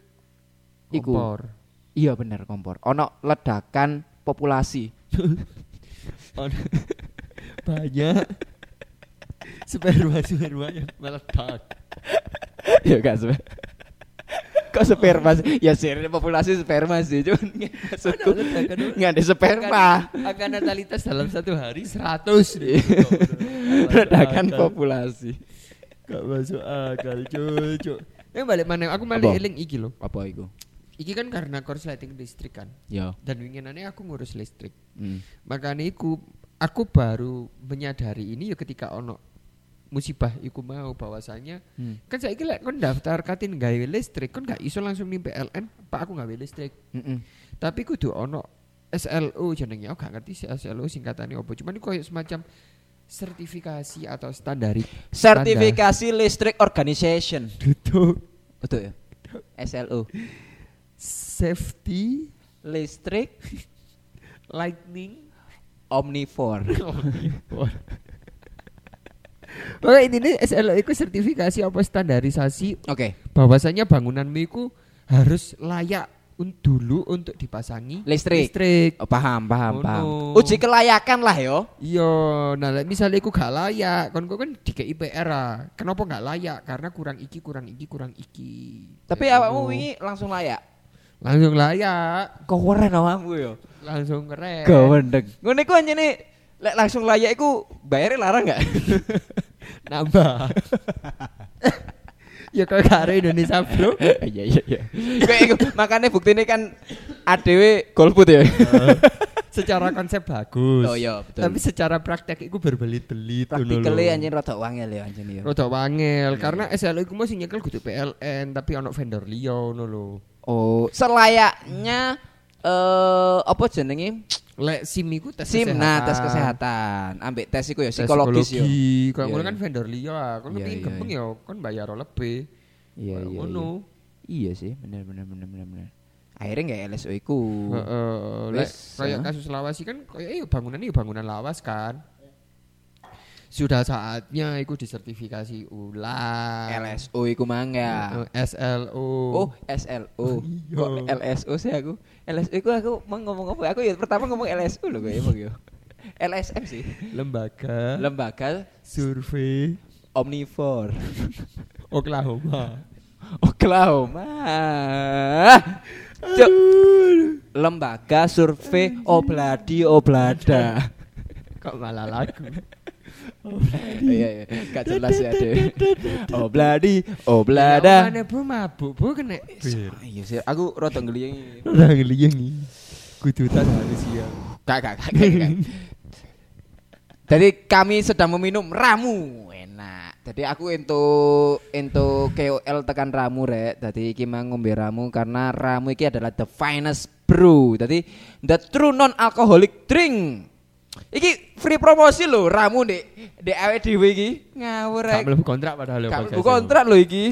Speaker 4: iku
Speaker 3: Kompor.
Speaker 4: iya bener kompor. Ono ledakan populasi. [LAUGHS]
Speaker 3: Banyak. [LAUGHS] sperma sperma yang meledak.
Speaker 4: ya gak sih. [LAUGHS] Kok sperma sih? Ya sih, populasi sperma sih, cuman maksudku
Speaker 3: Ono ledakan, ono.
Speaker 4: nggak ada sperma.
Speaker 3: Angka natalitas dalam satu hari 100.
Speaker 4: [LAUGHS] ledakan populasi
Speaker 3: Gak masuk akal, cocok. Eh balik mana? Aku malah
Speaker 4: Apa?
Speaker 3: eling iki loh.
Speaker 4: apa itu
Speaker 3: Iki kan karena korsleting listrik kan.
Speaker 4: ya
Speaker 3: Dan winginannya aku ngurus listrik.
Speaker 4: hmm.
Speaker 3: Makanya iku aku baru menyadari ini ya ketika ono musibah iku mau bahwasanya
Speaker 4: Hmm.
Speaker 3: kan saya lek kon daftar katin gawe listrik kon gak iso langsung nih PLN pak aku gawe listrik
Speaker 4: Mm-mm.
Speaker 3: tapi kudu ono SLO jenenge aku gak ngerti sih SLO singkatannya apa cuman iku koyo semacam sertifikasi atau standar
Speaker 4: sertifikasi listrik organization
Speaker 3: duduk
Speaker 4: betul ya SLO
Speaker 3: safety
Speaker 4: listrik
Speaker 3: lightning
Speaker 4: omnivore
Speaker 3: Pokoknya intinya SLO itu sertifikasi apa standarisasi
Speaker 4: oke
Speaker 3: bahwasanya bangunanmu itu harus layak un- dulu untuk dipasangi
Speaker 4: Listrik.
Speaker 3: listrik.
Speaker 4: Oh, paham paham
Speaker 3: Oh,
Speaker 4: paham
Speaker 3: no.
Speaker 4: uji kelayakan lah yo
Speaker 3: Iya, nah lek misalnya aku gak layak, kon kok kan di KIPR ah. Kenapa gak layak? Karena kurang iki, kurang iki, kurang iki.
Speaker 4: tapi
Speaker 3: Kayak
Speaker 4: awakmu
Speaker 3: ngono.
Speaker 4: wingi langsung layak
Speaker 3: langsung layak,
Speaker 4: kok keren awakmu yo
Speaker 3: langsung keren.
Speaker 4: gawendeng Eh. ngono iku anjene lek langsung layak iku bayarnya larang gak
Speaker 3: Nambah. [LAUGHS] ya kok karo Indonesia, Bro.
Speaker 4: [LAUGHS] iya iya iya Kayak iku, makanya bukti ini kan ADW golput ya [LAUGHS]
Speaker 3: Secara konsep bagus.
Speaker 4: Oh, iya, betul.
Speaker 3: Tapi secara praktek itu berbelit-belit
Speaker 4: praktikalnya anjing rada wangel ya anjing ya.
Speaker 3: Rodok wangel karena SLO iku mau sing nyekel kudu PLN tapi ono vendor liya ngono lho.
Speaker 4: Oh, selayaknya eh apa jenenge?
Speaker 3: Lek SIM iku tes
Speaker 4: SIM
Speaker 3: kesehatan.
Speaker 4: nah tes kesehatan. Ambek tes iku ya
Speaker 3: Tes
Speaker 4: psikologis yo.
Speaker 3: psikologi. Kayak
Speaker 4: Iya,
Speaker 3: ngono
Speaker 4: iya.
Speaker 3: kan vendor liya, ah. kon
Speaker 4: Iya,
Speaker 3: kepengin
Speaker 4: iya,
Speaker 3: gempeng
Speaker 4: iya.
Speaker 3: ya kon bayar lebih.
Speaker 4: Iya
Speaker 3: Kayak
Speaker 4: iya.
Speaker 3: ngono.
Speaker 4: iya. Iya sih, bener bener bener bener bener. Akhirnya nggak LSO iku.
Speaker 3: Heeh. Lek
Speaker 4: Wis,
Speaker 3: kayak
Speaker 4: ah.
Speaker 3: kasus Lawas kan kayak eh bangunan ini bangunan lawas kan. Sudah saatnya iku disertifikasi ulang. Eh,
Speaker 4: LSO iku mangga.
Speaker 3: Heeh, SLO.
Speaker 4: Oh, SLO.
Speaker 3: Iya.
Speaker 4: Kok LSO sih aku? LSO iku aku mau ngomong apa? Aku ya pertama ngomong LSO loh gue emang yo. LSM sih.
Speaker 3: lembaga
Speaker 4: Lembaga
Speaker 3: survei
Speaker 4: Omnivore.
Speaker 3: Oklahoma.
Speaker 4: Oklahoma. Cuk. Lembaga survei Obladi Oblada.
Speaker 3: Kok malah lagu?
Speaker 4: Iya iya, gak jelas ya deh. Obladi
Speaker 3: Lah,
Speaker 4: Oblada.
Speaker 3: Mana bu mabuk bu kena.
Speaker 4: Iya sih, aku rada ngeliyengi.
Speaker 3: Orang ngeliyengi. Kudutan manusia.
Speaker 4: Gak gak gak. gak, gak. [LAUGHS] Jadi kami sedang meminum ramu. Enak. Jadi aku untuk untuk KOL tekan ramu rek. Jadi iki mang ngombe ramu karena ramu iki adalah the finest brew. Jadi the true non alcoholic drink. Iki free promosi lho ramu Dek. Dek awake dhewe iki. Ngawur rek.
Speaker 3: Gak mlebu kontrak padahal ya,
Speaker 4: Gak
Speaker 3: podcast
Speaker 4: mlebu
Speaker 3: ini.
Speaker 4: kontrak lho iki.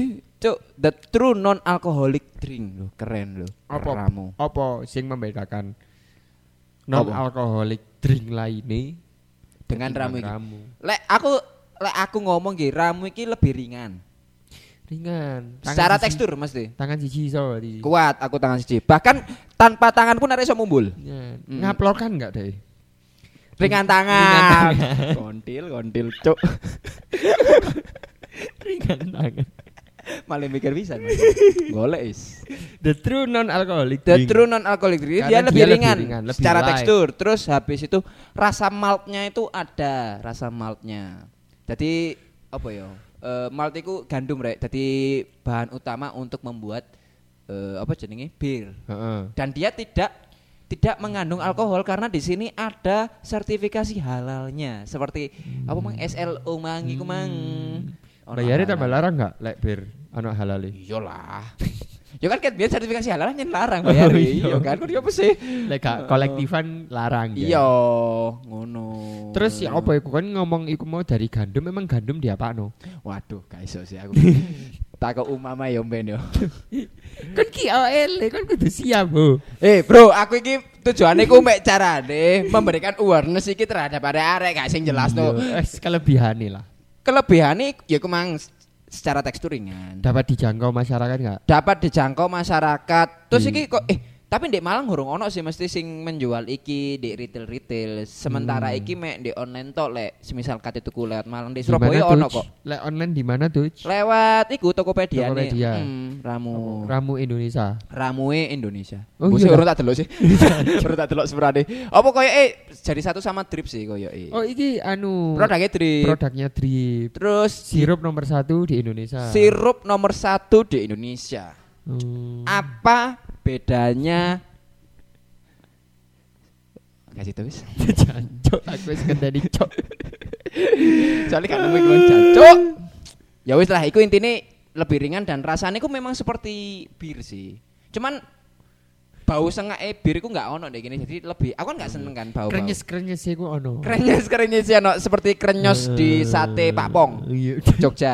Speaker 4: Cuk, the true non alcoholic drink lho. Keren lho.
Speaker 3: Apa?
Speaker 4: Ramu.
Speaker 3: Apa sing membedakan
Speaker 4: Apa?
Speaker 3: non alkoholik drink lainnya
Speaker 4: Dengan ramu iki.
Speaker 3: ramu.
Speaker 4: Lek aku lek aku ngomong nggih, ramu iki lebih ringan.
Speaker 3: Ringan. Tangan
Speaker 4: Secara
Speaker 3: siji-
Speaker 4: tekstur mesti.
Speaker 3: Tangan siji iso berarti.
Speaker 4: Kuat aku tangan siji. Bahkan tanpa tangan pun arek iso mumbul.
Speaker 3: Ringan.
Speaker 4: Hmm.
Speaker 3: Ngaplokan enggak deh?
Speaker 4: [LAUGHS] Ringan tangan. [LAUGHS] kontil, kontil, cuk.
Speaker 3: Ringan tangan.
Speaker 4: [LAUGHS] Malah mikir bisa. Mas. Golek is.
Speaker 3: The true non alkoholik
Speaker 4: The true non alcoholic drink dia,
Speaker 3: Karena
Speaker 4: lebih,
Speaker 3: dia lebih
Speaker 4: ringan,
Speaker 3: ringan, lebih
Speaker 4: secara
Speaker 3: light.
Speaker 4: tekstur. Terus habis itu rasa maltnya itu ada, rasa maltnya. Jadi apa ya? Eh malt itu gandum rek. Jadi bahan utama untuk membuat eh, apa jenenge bir
Speaker 3: Heeh.
Speaker 4: dan dia tidak tidak mengandung alkohol karena di sini ada sertifikasi halalnya seperti apa mang SLO mang iku mang. Ono
Speaker 3: Hmm. Bayarnya
Speaker 4: halal.
Speaker 3: tambah larang nggak lek bir e? anak [LAUGHS] halali?
Speaker 4: [LAUGHS] Iyalah. ya Iya kan kan biar sertifikasi halalnya larang
Speaker 3: [LAUGHS]
Speaker 4: bayar
Speaker 3: Oh, iya.
Speaker 4: iya kan kok apa sih?
Speaker 3: Lek gak kolektifan larang ya.
Speaker 4: Iya, ngono.
Speaker 3: Terus ya apa iku kan ngomong iku mau dari gandum memang gandum diapakno?
Speaker 4: Waduh, gak iso sih aku.
Speaker 3: [LAUGHS]
Speaker 4: tak kok umama ya mben yo.
Speaker 3: Kan ki awake kan kudu siap, Ho.
Speaker 4: Eh, bro, aku iki tujuannya ku mek carane memberikan awareness iki terhadap arek-arek gak sing jelas no.
Speaker 3: Iya, wes, kelebihane lah.
Speaker 4: Kelebihane ya ku mang s- secara tekstur ringan.
Speaker 3: Dapat dijangkau masyarakat nggak?
Speaker 4: dapat dijangkau masyarakat. Terus
Speaker 3: Hmm.
Speaker 4: iki kok eh tapi di Malang hurung ono sih mesti sing menjual iki di retail retail. Sementara iki mek di online tok lek. Semisal kate tuku lewat Malang di
Speaker 3: Hmm. Di
Speaker 4: Surabaya
Speaker 3: mana,
Speaker 4: ono
Speaker 3: Tuj?
Speaker 4: kok.
Speaker 3: Lek online di mana tuh?
Speaker 4: Lewat iku Tokopedia, nih.
Speaker 3: Tokopedia.
Speaker 4: Hmm, ramu.
Speaker 3: Ramu Indonesia.
Speaker 4: Ramue Indonesia.
Speaker 3: Oh,
Speaker 4: Mbok sih
Speaker 3: iya.
Speaker 4: urung tak delok
Speaker 3: [LAUGHS]
Speaker 4: sih. [LAUGHS] Urung tak delok seberane. Apa koyo eh jadi satu sama drip sih koyo eh.
Speaker 3: Oh iki anu
Speaker 4: Produknya drip.
Speaker 3: produknya drip.
Speaker 4: Terus
Speaker 3: Sirup nomor satu di Indonesia.
Speaker 4: sirup nomor satu di Indonesia.
Speaker 3: Hmm. [LAUGHS]
Speaker 4: apa bedanya kasih tahu wis
Speaker 3: Jancuk, aku wis kendani
Speaker 4: [LAUGHS]
Speaker 3: cok.
Speaker 4: soalnya kan nemu iklan jancuk ya wis lah iku intine lebih ringan dan rasanya ku memang seperti bir sih cuman bau sengak e bir ku nggak ono deh gini jadi lebih aku kan nggak seneng kan bau bau
Speaker 3: Krenyes krenyes sih ku ono.
Speaker 4: krenyes krenyes ya no seperti krenyos di sate Pak Pong
Speaker 3: Iya. [LAUGHS]
Speaker 4: Jogja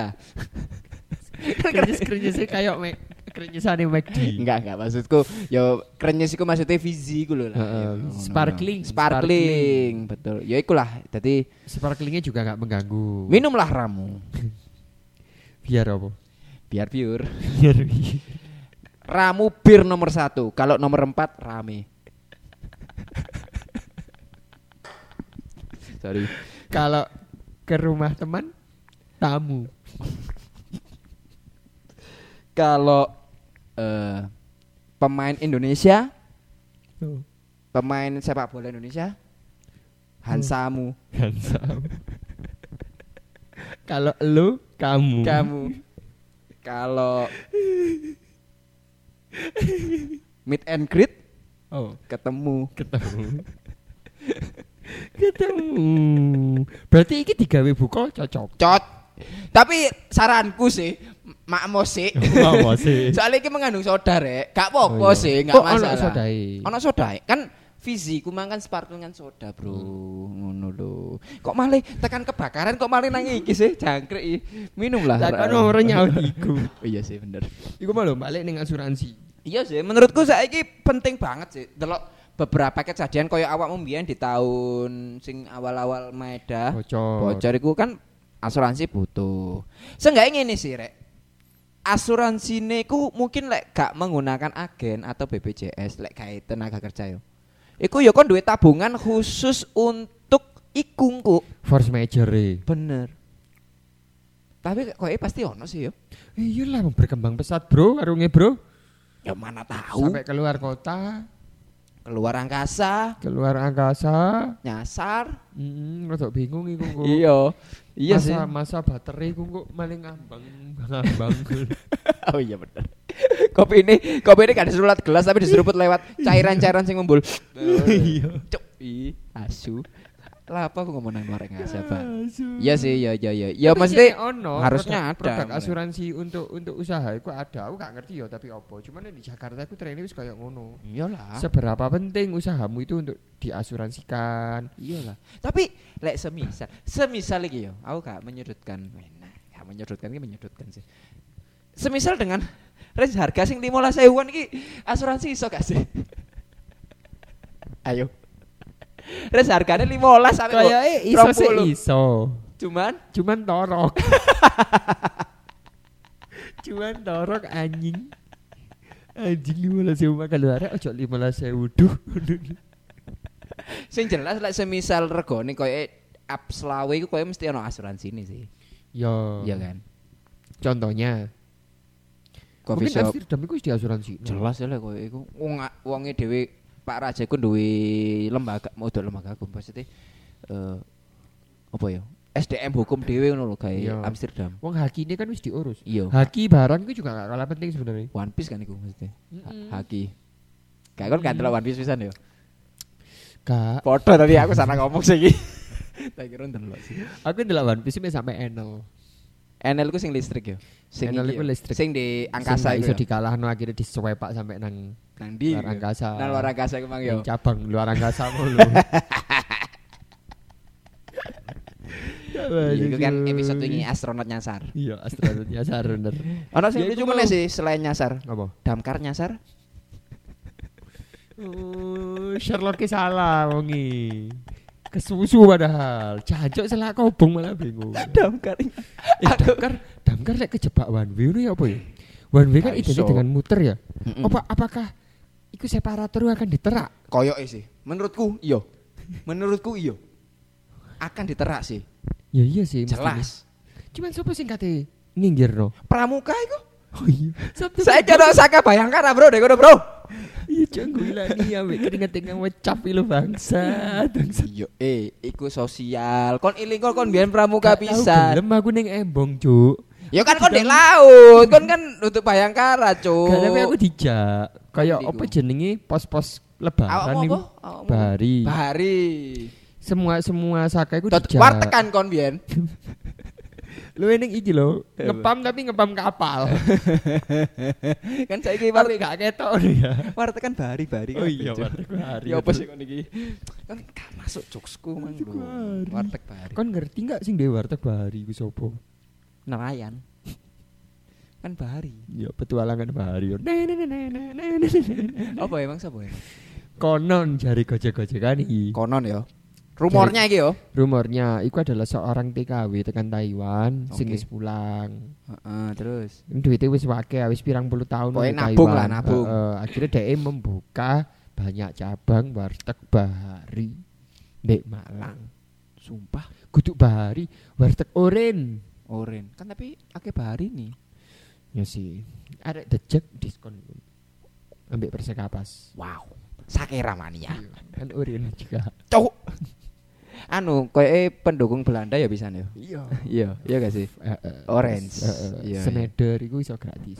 Speaker 3: Krenyes krenyes sih kayak mek krenyesane
Speaker 4: [LAUGHS]
Speaker 3: McD.
Speaker 4: Enggak, enggak maksudku. Yo krenyes iku maksudnya Fizzy iku lho lah.
Speaker 3: Heeh,
Speaker 4: Yo, ngono,
Speaker 3: sparkling,
Speaker 4: ngono. Sparkling,
Speaker 3: sparkling.
Speaker 4: betul. Ya ikulah. Dadi
Speaker 3: Sparklingnya juga nggak mengganggu.
Speaker 4: minumlah ramu
Speaker 3: Biar apa?
Speaker 4: biar pure.
Speaker 3: [LAUGHS] Biar.
Speaker 4: Ramu bir nomor satu. Kalau nomor empat rame. Sorry.
Speaker 3: Kalau ke rumah teman tamu.
Speaker 4: Kalau eh, pemain Indonesia,
Speaker 3: Oh,
Speaker 4: pemain sepak bola Indonesia Hansamu,
Speaker 3: Gansam. [LAUGHS] Kalau lu kamu.
Speaker 4: kamu. Kalau meet and greet
Speaker 3: Oh,
Speaker 4: ketemu
Speaker 3: [LAUGHS] ketemu. ketemu. Berarti iki digawe buka cocok.
Speaker 4: cot tapi saranku sih makmo sih
Speaker 3: [LAUGHS] [LAUGHS] Apa sih?
Speaker 4: soalnya ini mengandung soda rek gak apa-apa
Speaker 3: Oh, iya.
Speaker 4: sih gak
Speaker 3: Oh, ono
Speaker 4: masalah
Speaker 3: sodae.
Speaker 4: ono sodae. kan Fizi, ku makan sparkling kan soda bro
Speaker 3: Hmm.
Speaker 4: ngono lho kok malah tekan kebakaran kok malah nang iki sih jangkrik i. minum lah
Speaker 3: Tak
Speaker 4: Ra.
Speaker 3: kan orang nyaut iku.
Speaker 4: [LAUGHS] iya sih bener
Speaker 3: Iku malah balik ning asuransi.
Speaker 4: iya sih menurutku saiki penting banget sih delok beberapa kejadian koyo awakmu mbiyen di tahun sing awal-awal Maeda
Speaker 3: Oh, Bocor.
Speaker 4: bocor iku kan asuransi butuh. Seenggaknya ngene sih rek. Asuransi ku mungkin lek gak menggunakan agen atau BPJS lek gawe tenaga kerja yo. Iku yo kon duwe tabungan khusus untuk ikungku.
Speaker 3: Force major e.
Speaker 4: Bener. Tapi koe pasti ono sih yo.
Speaker 3: Iya lah berkembang pesat, Bro, karunge, Bro.
Speaker 4: Ya mana tahu.
Speaker 3: Sampai keluar kota,
Speaker 4: Keluar angkasa,
Speaker 3: keluar angkasa.
Speaker 4: nyasar.
Speaker 3: Hmm, rodok bingung iku kok.
Speaker 4: Iya. Iya
Speaker 3: masa,
Speaker 4: sih.
Speaker 3: Masa baterai ku kok maling ngambang, [LAUGHS] ngambang.
Speaker 4: Oh iya bener. Kopi ini, kopi ini gak diseruput gelas tapi diseruput lewat cairan-cairan sing membul.
Speaker 3: Iya.
Speaker 4: Cuk, i asu. Lah apa aku ngomong nang goreng asa, Pak? Iya sih, iya iya iya. Ya mesti
Speaker 3: ono produk,
Speaker 4: harusnya ada.
Speaker 3: produk asuransi untuk untuk usaha iku ada. Aku gak ngerti ya tapi apa. Cuman di Jakarta aku trainee wis kayak ngono.
Speaker 4: Iyalah.
Speaker 3: Seberapa penting usahamu itu untuk diasuransikan?
Speaker 4: Iyalah. iya Tapi lek semisal, semisal iki yo, aku gak menyudutkan. Nah, gak menyudutkan iki menyudutkan sih. Semisal dengan range harga sing 15.000-an iki asuransi iso gak sih? Ayo. Range hargane 15 sampai
Speaker 3: Kayaknya iso sih
Speaker 4: 20.
Speaker 3: iso.
Speaker 4: Cuman
Speaker 3: Cuman torok. [LAUGHS] Cuman torok anjing. Anjing lima belas sewu makan luar, ojo lima belas sewu duh.
Speaker 4: sing jelas lek semisal regane koyo up selawe iku koyo mesti ono asuransi ini sih.
Speaker 3: Yo,
Speaker 4: Iya kan?
Speaker 3: Ya. contohnya.
Speaker 4: Coffee
Speaker 3: mungkin
Speaker 4: shop
Speaker 3: Amsterdam itu wis diasuransi.
Speaker 4: jelas ya lek koyo iku wong wonge dhewe Pak Raja ku duwe lembaga modal lembaga aku maksudnya eh apa ya? SDM hukum dhewe ngono lho gawe
Speaker 3: Iya.
Speaker 4: Amsterdam.
Speaker 3: Wong haki ini kan wis diurus.
Speaker 4: Iya.
Speaker 3: Haki barang itu juga gak kalah penting sebenarnya.
Speaker 4: One Piece kan iku mesti.
Speaker 3: Mm-mm.
Speaker 4: Haki. Kayak kan gak delok One Piece pisan ya.
Speaker 3: Kak,
Speaker 4: Podo tadi aku sana ngomong sih [LAUGHS] iki. Tak kira ndelok sih.
Speaker 3: aku ndelok One Piece sampe sampai enel.
Speaker 4: Enel ku sing listrik ya. Sing
Speaker 3: Enel
Speaker 4: iki
Speaker 3: iku
Speaker 4: ya.
Speaker 3: listrik.
Speaker 4: Sing di angkasa
Speaker 3: Sing gak
Speaker 4: ya? iku.
Speaker 3: iso dikalahno akhirnya disuwepak sampai nang
Speaker 4: Nang di.
Speaker 3: luar angkasa.
Speaker 4: Nang luar angkasa iku mang yo.
Speaker 3: Nang cabang luar angkasa
Speaker 4: [LAUGHS]
Speaker 3: Ya, mulu.
Speaker 4: Iya, Iku kan episode ini astronot nyasar.
Speaker 3: Iya, astronotnya Saruner.
Speaker 4: Ono
Speaker 3: Ya,
Speaker 4: sing lucu
Speaker 3: iku
Speaker 4: meneh
Speaker 3: mau.
Speaker 4: sih selain nyasar.
Speaker 3: Apa?
Speaker 4: Damkar nyasar.
Speaker 3: Oh, Sherlock salah wongi. Kesusu padahal. Cacok salah kobong malah bingung.
Speaker 4: [LAUGHS] Damkar.
Speaker 3: Eh,
Speaker 4: Ya,
Speaker 3: damkar, damkar lek kejebak one way ini apa ya? One way kan
Speaker 4: Nggak
Speaker 3: identik
Speaker 4: iso. Mm.
Speaker 3: dengan muter ya.
Speaker 4: Mm-mm.
Speaker 3: Apa apakah iku separator akan diterak?
Speaker 4: Koyok sih. Menurutku iya. Menurutku iya. Akan diterak sih.
Speaker 3: Ya iya sih. mestinya.
Speaker 4: Jelas.
Speaker 3: Cuman sopo sing kate
Speaker 4: [LAUGHS]
Speaker 3: nginggirno?
Speaker 4: Pramuka iku.
Speaker 3: Oh iya. Sabtu
Speaker 4: Saya kira Saka bayangkan Bro, dek Bro.
Speaker 3: Iya, cang gila nih ambek keringet-keringet ngecap lu bangsa. Bangsa.
Speaker 4: Iya, eh iku sosial. Kon iling kon kon biyen pramuka pisan.
Speaker 3: Gelem aku ning embong, Cuk.
Speaker 4: Ya kan kon dek laut, kon kan untuk bayangkara,
Speaker 3: Gak tapi aku
Speaker 4: Cuk.
Speaker 3: dijak. Kayak
Speaker 4: Ndi ku?
Speaker 3: apa jenenge pos-pos lebaran
Speaker 4: Awakmu
Speaker 3: iku.
Speaker 4: apa? Awakmu?
Speaker 3: Bari.
Speaker 4: Bahari.
Speaker 3: Semua semua saka iku
Speaker 4: Tot-
Speaker 3: dijak.
Speaker 4: Wartekan kon biyen.
Speaker 3: Lu ening iki lho,
Speaker 4: Eh,
Speaker 3: ngepam tapi ngepam kapal.
Speaker 4: [LAUGHS] [LAUGHS] kan
Speaker 3: Tapi
Speaker 4: saiki wartekan
Speaker 3: gak ketok ya.
Speaker 4: wartekan bahari-bahari.
Speaker 3: Oh iya, warteg bahari.
Speaker 4: Ya apa sih kon iki? Kan gak masuk jokesku mang
Speaker 3: Warteg
Speaker 4: lho.
Speaker 3: bahari.
Speaker 4: Warteg bahari.
Speaker 3: Kon ngerti gak sing dhewe warteg bahari iku sapa?
Speaker 4: nelayan. Kan bahari.
Speaker 3: Ya petualangan bahari.
Speaker 4: Apa emang sapa ya?
Speaker 3: Konon jari gojek-gojekan iki.
Speaker 4: Konon ya. Rumornya iki yo.
Speaker 3: Rumornya iku adalah seorang TKW tekan Taiwan sing
Speaker 4: Oke.
Speaker 3: wis pulang.
Speaker 4: Heeh, terus.
Speaker 3: Duitnya wis wake wis pirang puluh tahun
Speaker 4: Pokoknya
Speaker 3: nang
Speaker 4: nabung lah,
Speaker 3: Taiwan.
Speaker 4: nabung.
Speaker 3: Heeh, akhirnya dia membuka banyak cabang warteg bahari di Malang.
Speaker 4: Sumpah
Speaker 3: Guduk bahari, warteg oren.
Speaker 4: oren. Kan tapi akeh bahari nih.
Speaker 3: Ya sih. Arek dejek diskon. Ambek persekapas.
Speaker 4: Wow. Sakera mania.
Speaker 3: Kan urin
Speaker 4: Iya,
Speaker 3: [LAUGHS] juga.
Speaker 4: Cuk. Anu, koyoke pendukung Belanda ya bisa nih.
Speaker 3: Iya.
Speaker 4: [LAUGHS] Iya, iya gak sih? Orange. Iya, iya.
Speaker 3: Seneder iku iso gratis.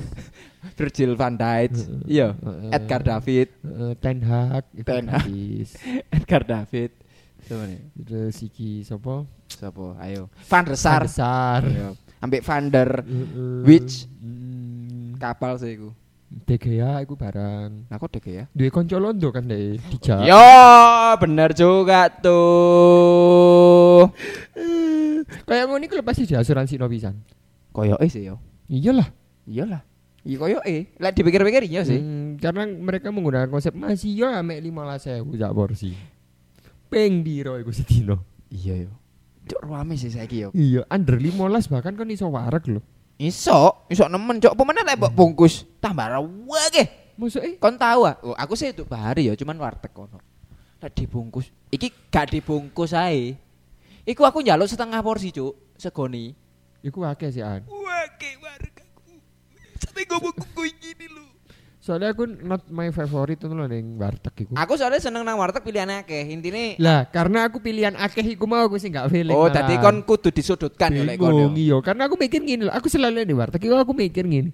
Speaker 4: Virgil van Dijk.
Speaker 3: Heeh.
Speaker 4: Iya.
Speaker 3: Heeh.
Speaker 4: Edgar David,
Speaker 3: Heeh, Ten Hag iku
Speaker 4: Ten Hag.
Speaker 3: gratis.
Speaker 4: [LAUGHS] Edgar David. Siapa nih?
Speaker 3: Terus iki sapa?
Speaker 4: Siapa? Ayo. Van der Sar.
Speaker 3: Sar.
Speaker 4: Iya. Ambek Van der
Speaker 3: Heeh.
Speaker 4: Which?
Speaker 3: Mm.
Speaker 4: kapal sih iku.
Speaker 3: De Gea iku barang.
Speaker 4: Nah, kok dek ya?
Speaker 3: Duwe kanca londo kan deh dijak.
Speaker 4: Yo, bener juga tuh.
Speaker 3: Kayak ngono iku lepas di asuransi no pisan.
Speaker 4: Koyoke eh sih yo.
Speaker 3: Iyalah.
Speaker 4: Iyalah. Iya koyoke. Lek dipikir-pikir iya sih.
Speaker 3: Hmm, karena mereka menggunakan konsep masih yo amek 15000 sak porsi. Ping piro iku sedino?
Speaker 4: Iya yo. Cuk rame sih saiki yo.
Speaker 3: Iya, under 15 bahkan kan iso wareg lho.
Speaker 4: Iso, iso nemen cok. Pemenan lek mbok bungkus tambah rawa ge.
Speaker 3: Maksudnya
Speaker 4: Kon tahu ah. Oh, aku sih itu bahari yo, cuman warteg kono. Lek dibungkus. Iki gak dibungkus ae. Iku aku njaluk setengah porsi cuk, segoni.
Speaker 3: iku akeh sih an.
Speaker 4: Wake wargaku. Sampai ngomongku kuwi gini lu.
Speaker 3: Soalnya aku not my favorite itu loh ning warteg iku.
Speaker 4: Aku soalnya seneng nang warteg pilihan akeh. Intine
Speaker 3: Lah, karena aku pilihan akeh iku mau aku sih gak feeling.
Speaker 4: Oh,
Speaker 3: An.
Speaker 4: tadi kon kudu disudutkan ya lek
Speaker 3: bingung
Speaker 4: kon. yo.
Speaker 3: iya karena aku mikir gini loh aku selalu di warteg iku aku mikir gini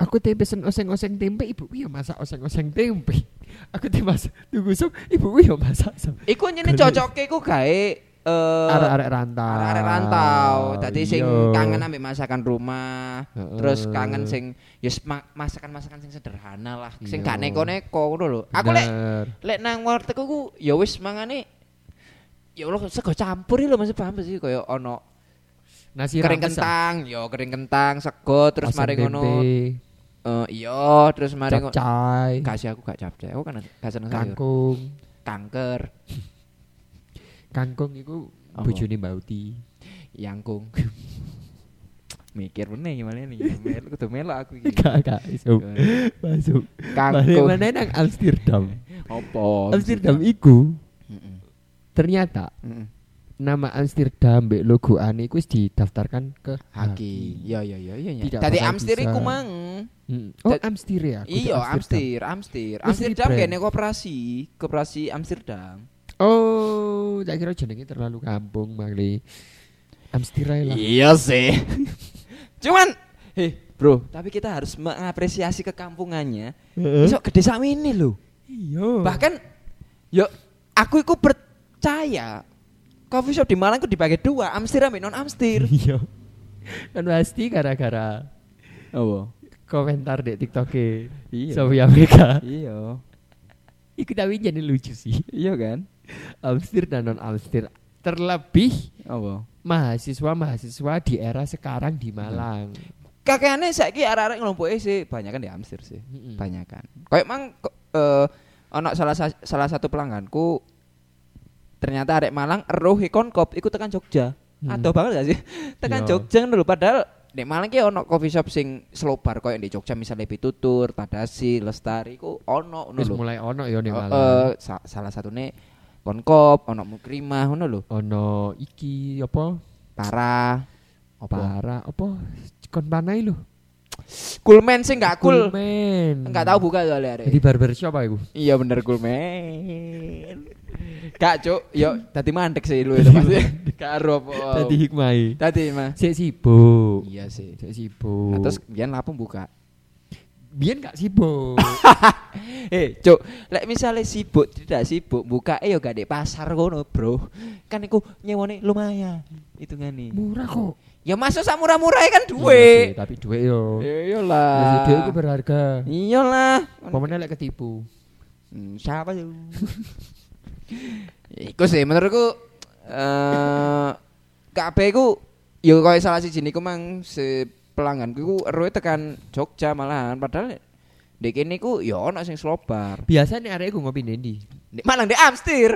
Speaker 3: aku teh pesen oseng-oseng tempe ibu iya masak oseng-oseng tempe aku teh masak tunggu sup ibu iya masak sup
Speaker 4: Iku nyene cocoke ku gawe eh
Speaker 3: arek-arek rantau
Speaker 4: arek-arek rantau. Dadi sing
Speaker 3: Ah, Iya.
Speaker 4: kangen ambek masakan rumah,
Speaker 3: Heeh.
Speaker 4: terus kangen sing ya ma- masakan-masakan sing sederhana lah,
Speaker 3: Iya.
Speaker 4: sing gak neko-neko ngono lho. Aku lek
Speaker 3: Bener.
Speaker 4: lek nang warteg ku ya wis mangane ya Allah sego campur iki lho masih paham sih kaya ono
Speaker 3: nasi
Speaker 4: kering
Speaker 3: rames, ah.
Speaker 4: kentang, ya kering kentang, sego terus
Speaker 3: Oseng
Speaker 4: mari ngono.
Speaker 3: tempe,
Speaker 4: Eh iya, terus mari ngono.
Speaker 3: capcay
Speaker 4: Kasih aku gak capcay. Aku kan gak seneng sayur.
Speaker 3: kangkung
Speaker 4: Kanker,
Speaker 3: kangkung iku
Speaker 4: Apa?
Speaker 3: bojone Bauti
Speaker 4: yangkung. Mikir bener gimana nih? Mel kudu melok aku iki.
Speaker 3: [LAUGHS] gak gak iso masuk
Speaker 4: Iya. Kangkung.
Speaker 3: mana nang Amsterdam
Speaker 4: Opo?
Speaker 3: Amsterdam iku
Speaker 4: Heeh.
Speaker 3: ternyata
Speaker 4: Heeh.
Speaker 3: nama Amsterdam mbek logo ane iku wis didaftarkan ke
Speaker 4: Haki. Ya ya ya iya.
Speaker 3: Nah, Tidak
Speaker 4: Tadi
Speaker 3: bakal
Speaker 4: Amstir
Speaker 3: bisa.
Speaker 4: iku mang.
Speaker 3: Hmm. Oh,
Speaker 4: Tad-
Speaker 3: Amstir ya. Aku
Speaker 4: Iya,
Speaker 3: tuh
Speaker 4: Amstir, Amstir.
Speaker 3: Wis
Speaker 4: Amsterdam
Speaker 3: rebrand.
Speaker 4: kene koperasi, koperasi Amsterdam.
Speaker 3: Oh, tak kira jenenge terlalu kampung mali. Amstirai lah.
Speaker 4: Iya sih. [LAUGHS] Cuman, heh bro, tapi kita harus mengapresiasi kekampungannya.
Speaker 3: Eh?
Speaker 4: Besok gede sami ini loh.
Speaker 3: Iya.
Speaker 4: Iya. Bahkan, yo aku iku percaya coffee shop di Malang itu dibagi dua, Amstir ambek non Amstir.
Speaker 3: iya. Kan pasti gara-gara
Speaker 4: Oh,
Speaker 3: komentar di TikTok e.
Speaker 4: Iya.
Speaker 3: Sampai Amerika.
Speaker 4: iya,
Speaker 3: Iku tapi jadi lucu sih.
Speaker 4: iya kan?
Speaker 3: Amstir dan non Amstir. Terlebih
Speaker 4: Oh,
Speaker 3: mahasiswa-mahasiswa di era sekarang di Malang.
Speaker 4: Iya. kakekane saiki arek-arek ngelompoke sih banyak kan di Amstir sih.
Speaker 3: Mm-mm.
Speaker 4: Banyak kan. Kayak mang ko- eh ana salah sa- salah satu pelangganku ternyata arek Malang eruh ikon kop iku tekan Jogja.
Speaker 3: Hmm.
Speaker 4: Adoh banget gak sih? [LAUGHS] tekan
Speaker 3: Iya.
Speaker 4: Jogja ngono lho padahal di Malang ki ono coffee shop sing slow bar koyo di Jogja misalnya Pitutur, Tadasi, Lestari ku ono ngono
Speaker 3: Terus
Speaker 4: lho.
Speaker 3: mulai ono ya nih
Speaker 4: Eh,
Speaker 3: Malang.
Speaker 4: eh, sa- salah satune Konkop, ono Mukrimah ngono lho.
Speaker 3: ono iki apa?
Speaker 4: Para apa?
Speaker 3: Para apa? Kon panai lho.
Speaker 4: Coolman sih gak cool.
Speaker 3: men.
Speaker 4: Enggak tahu buka soalnya arek.
Speaker 3: Jadi barbershop aku.
Speaker 4: Iya bener kulmen. Kak cuk, yo tadi mandek sih lu itu pasti. Karo apa?
Speaker 3: Tadi hikmai.
Speaker 4: tadi mah.
Speaker 3: e. Sik sibuk.
Speaker 4: Iya sih.
Speaker 3: Sik sibuk.
Speaker 4: Nah, terus biyen lapung buka.
Speaker 3: biyen gak
Speaker 4: [LAUGHS]
Speaker 3: sibuk.
Speaker 4: Eh, cuk, lek misalnya sibuk tidak sibuk buka eh yo gak di pasar kono, Bro. Kan iku nyewone lumayan hitungane.
Speaker 3: Murah kok.
Speaker 4: Ya masuk sak murah-murah
Speaker 3: Iya sih,
Speaker 4: kan duwe.
Speaker 3: tapi duit yo.
Speaker 4: Iya
Speaker 3: Nah,
Speaker 4: lah.
Speaker 3: duit itu berharga.
Speaker 4: Iya lah.
Speaker 3: Pemenang lek ketipu.
Speaker 4: Hmm, siapa [LAUGHS] sih? Iku sih menurutku eh kabeh iku ya koyo salah siji niku mang si pelangganku iku eruhe tekan Jogja malahan padahal ndek kene iku ya ono sing slobar.
Speaker 3: Biasanya arek gue ngopi nendi.
Speaker 4: Ndek Malang ndek Amstir.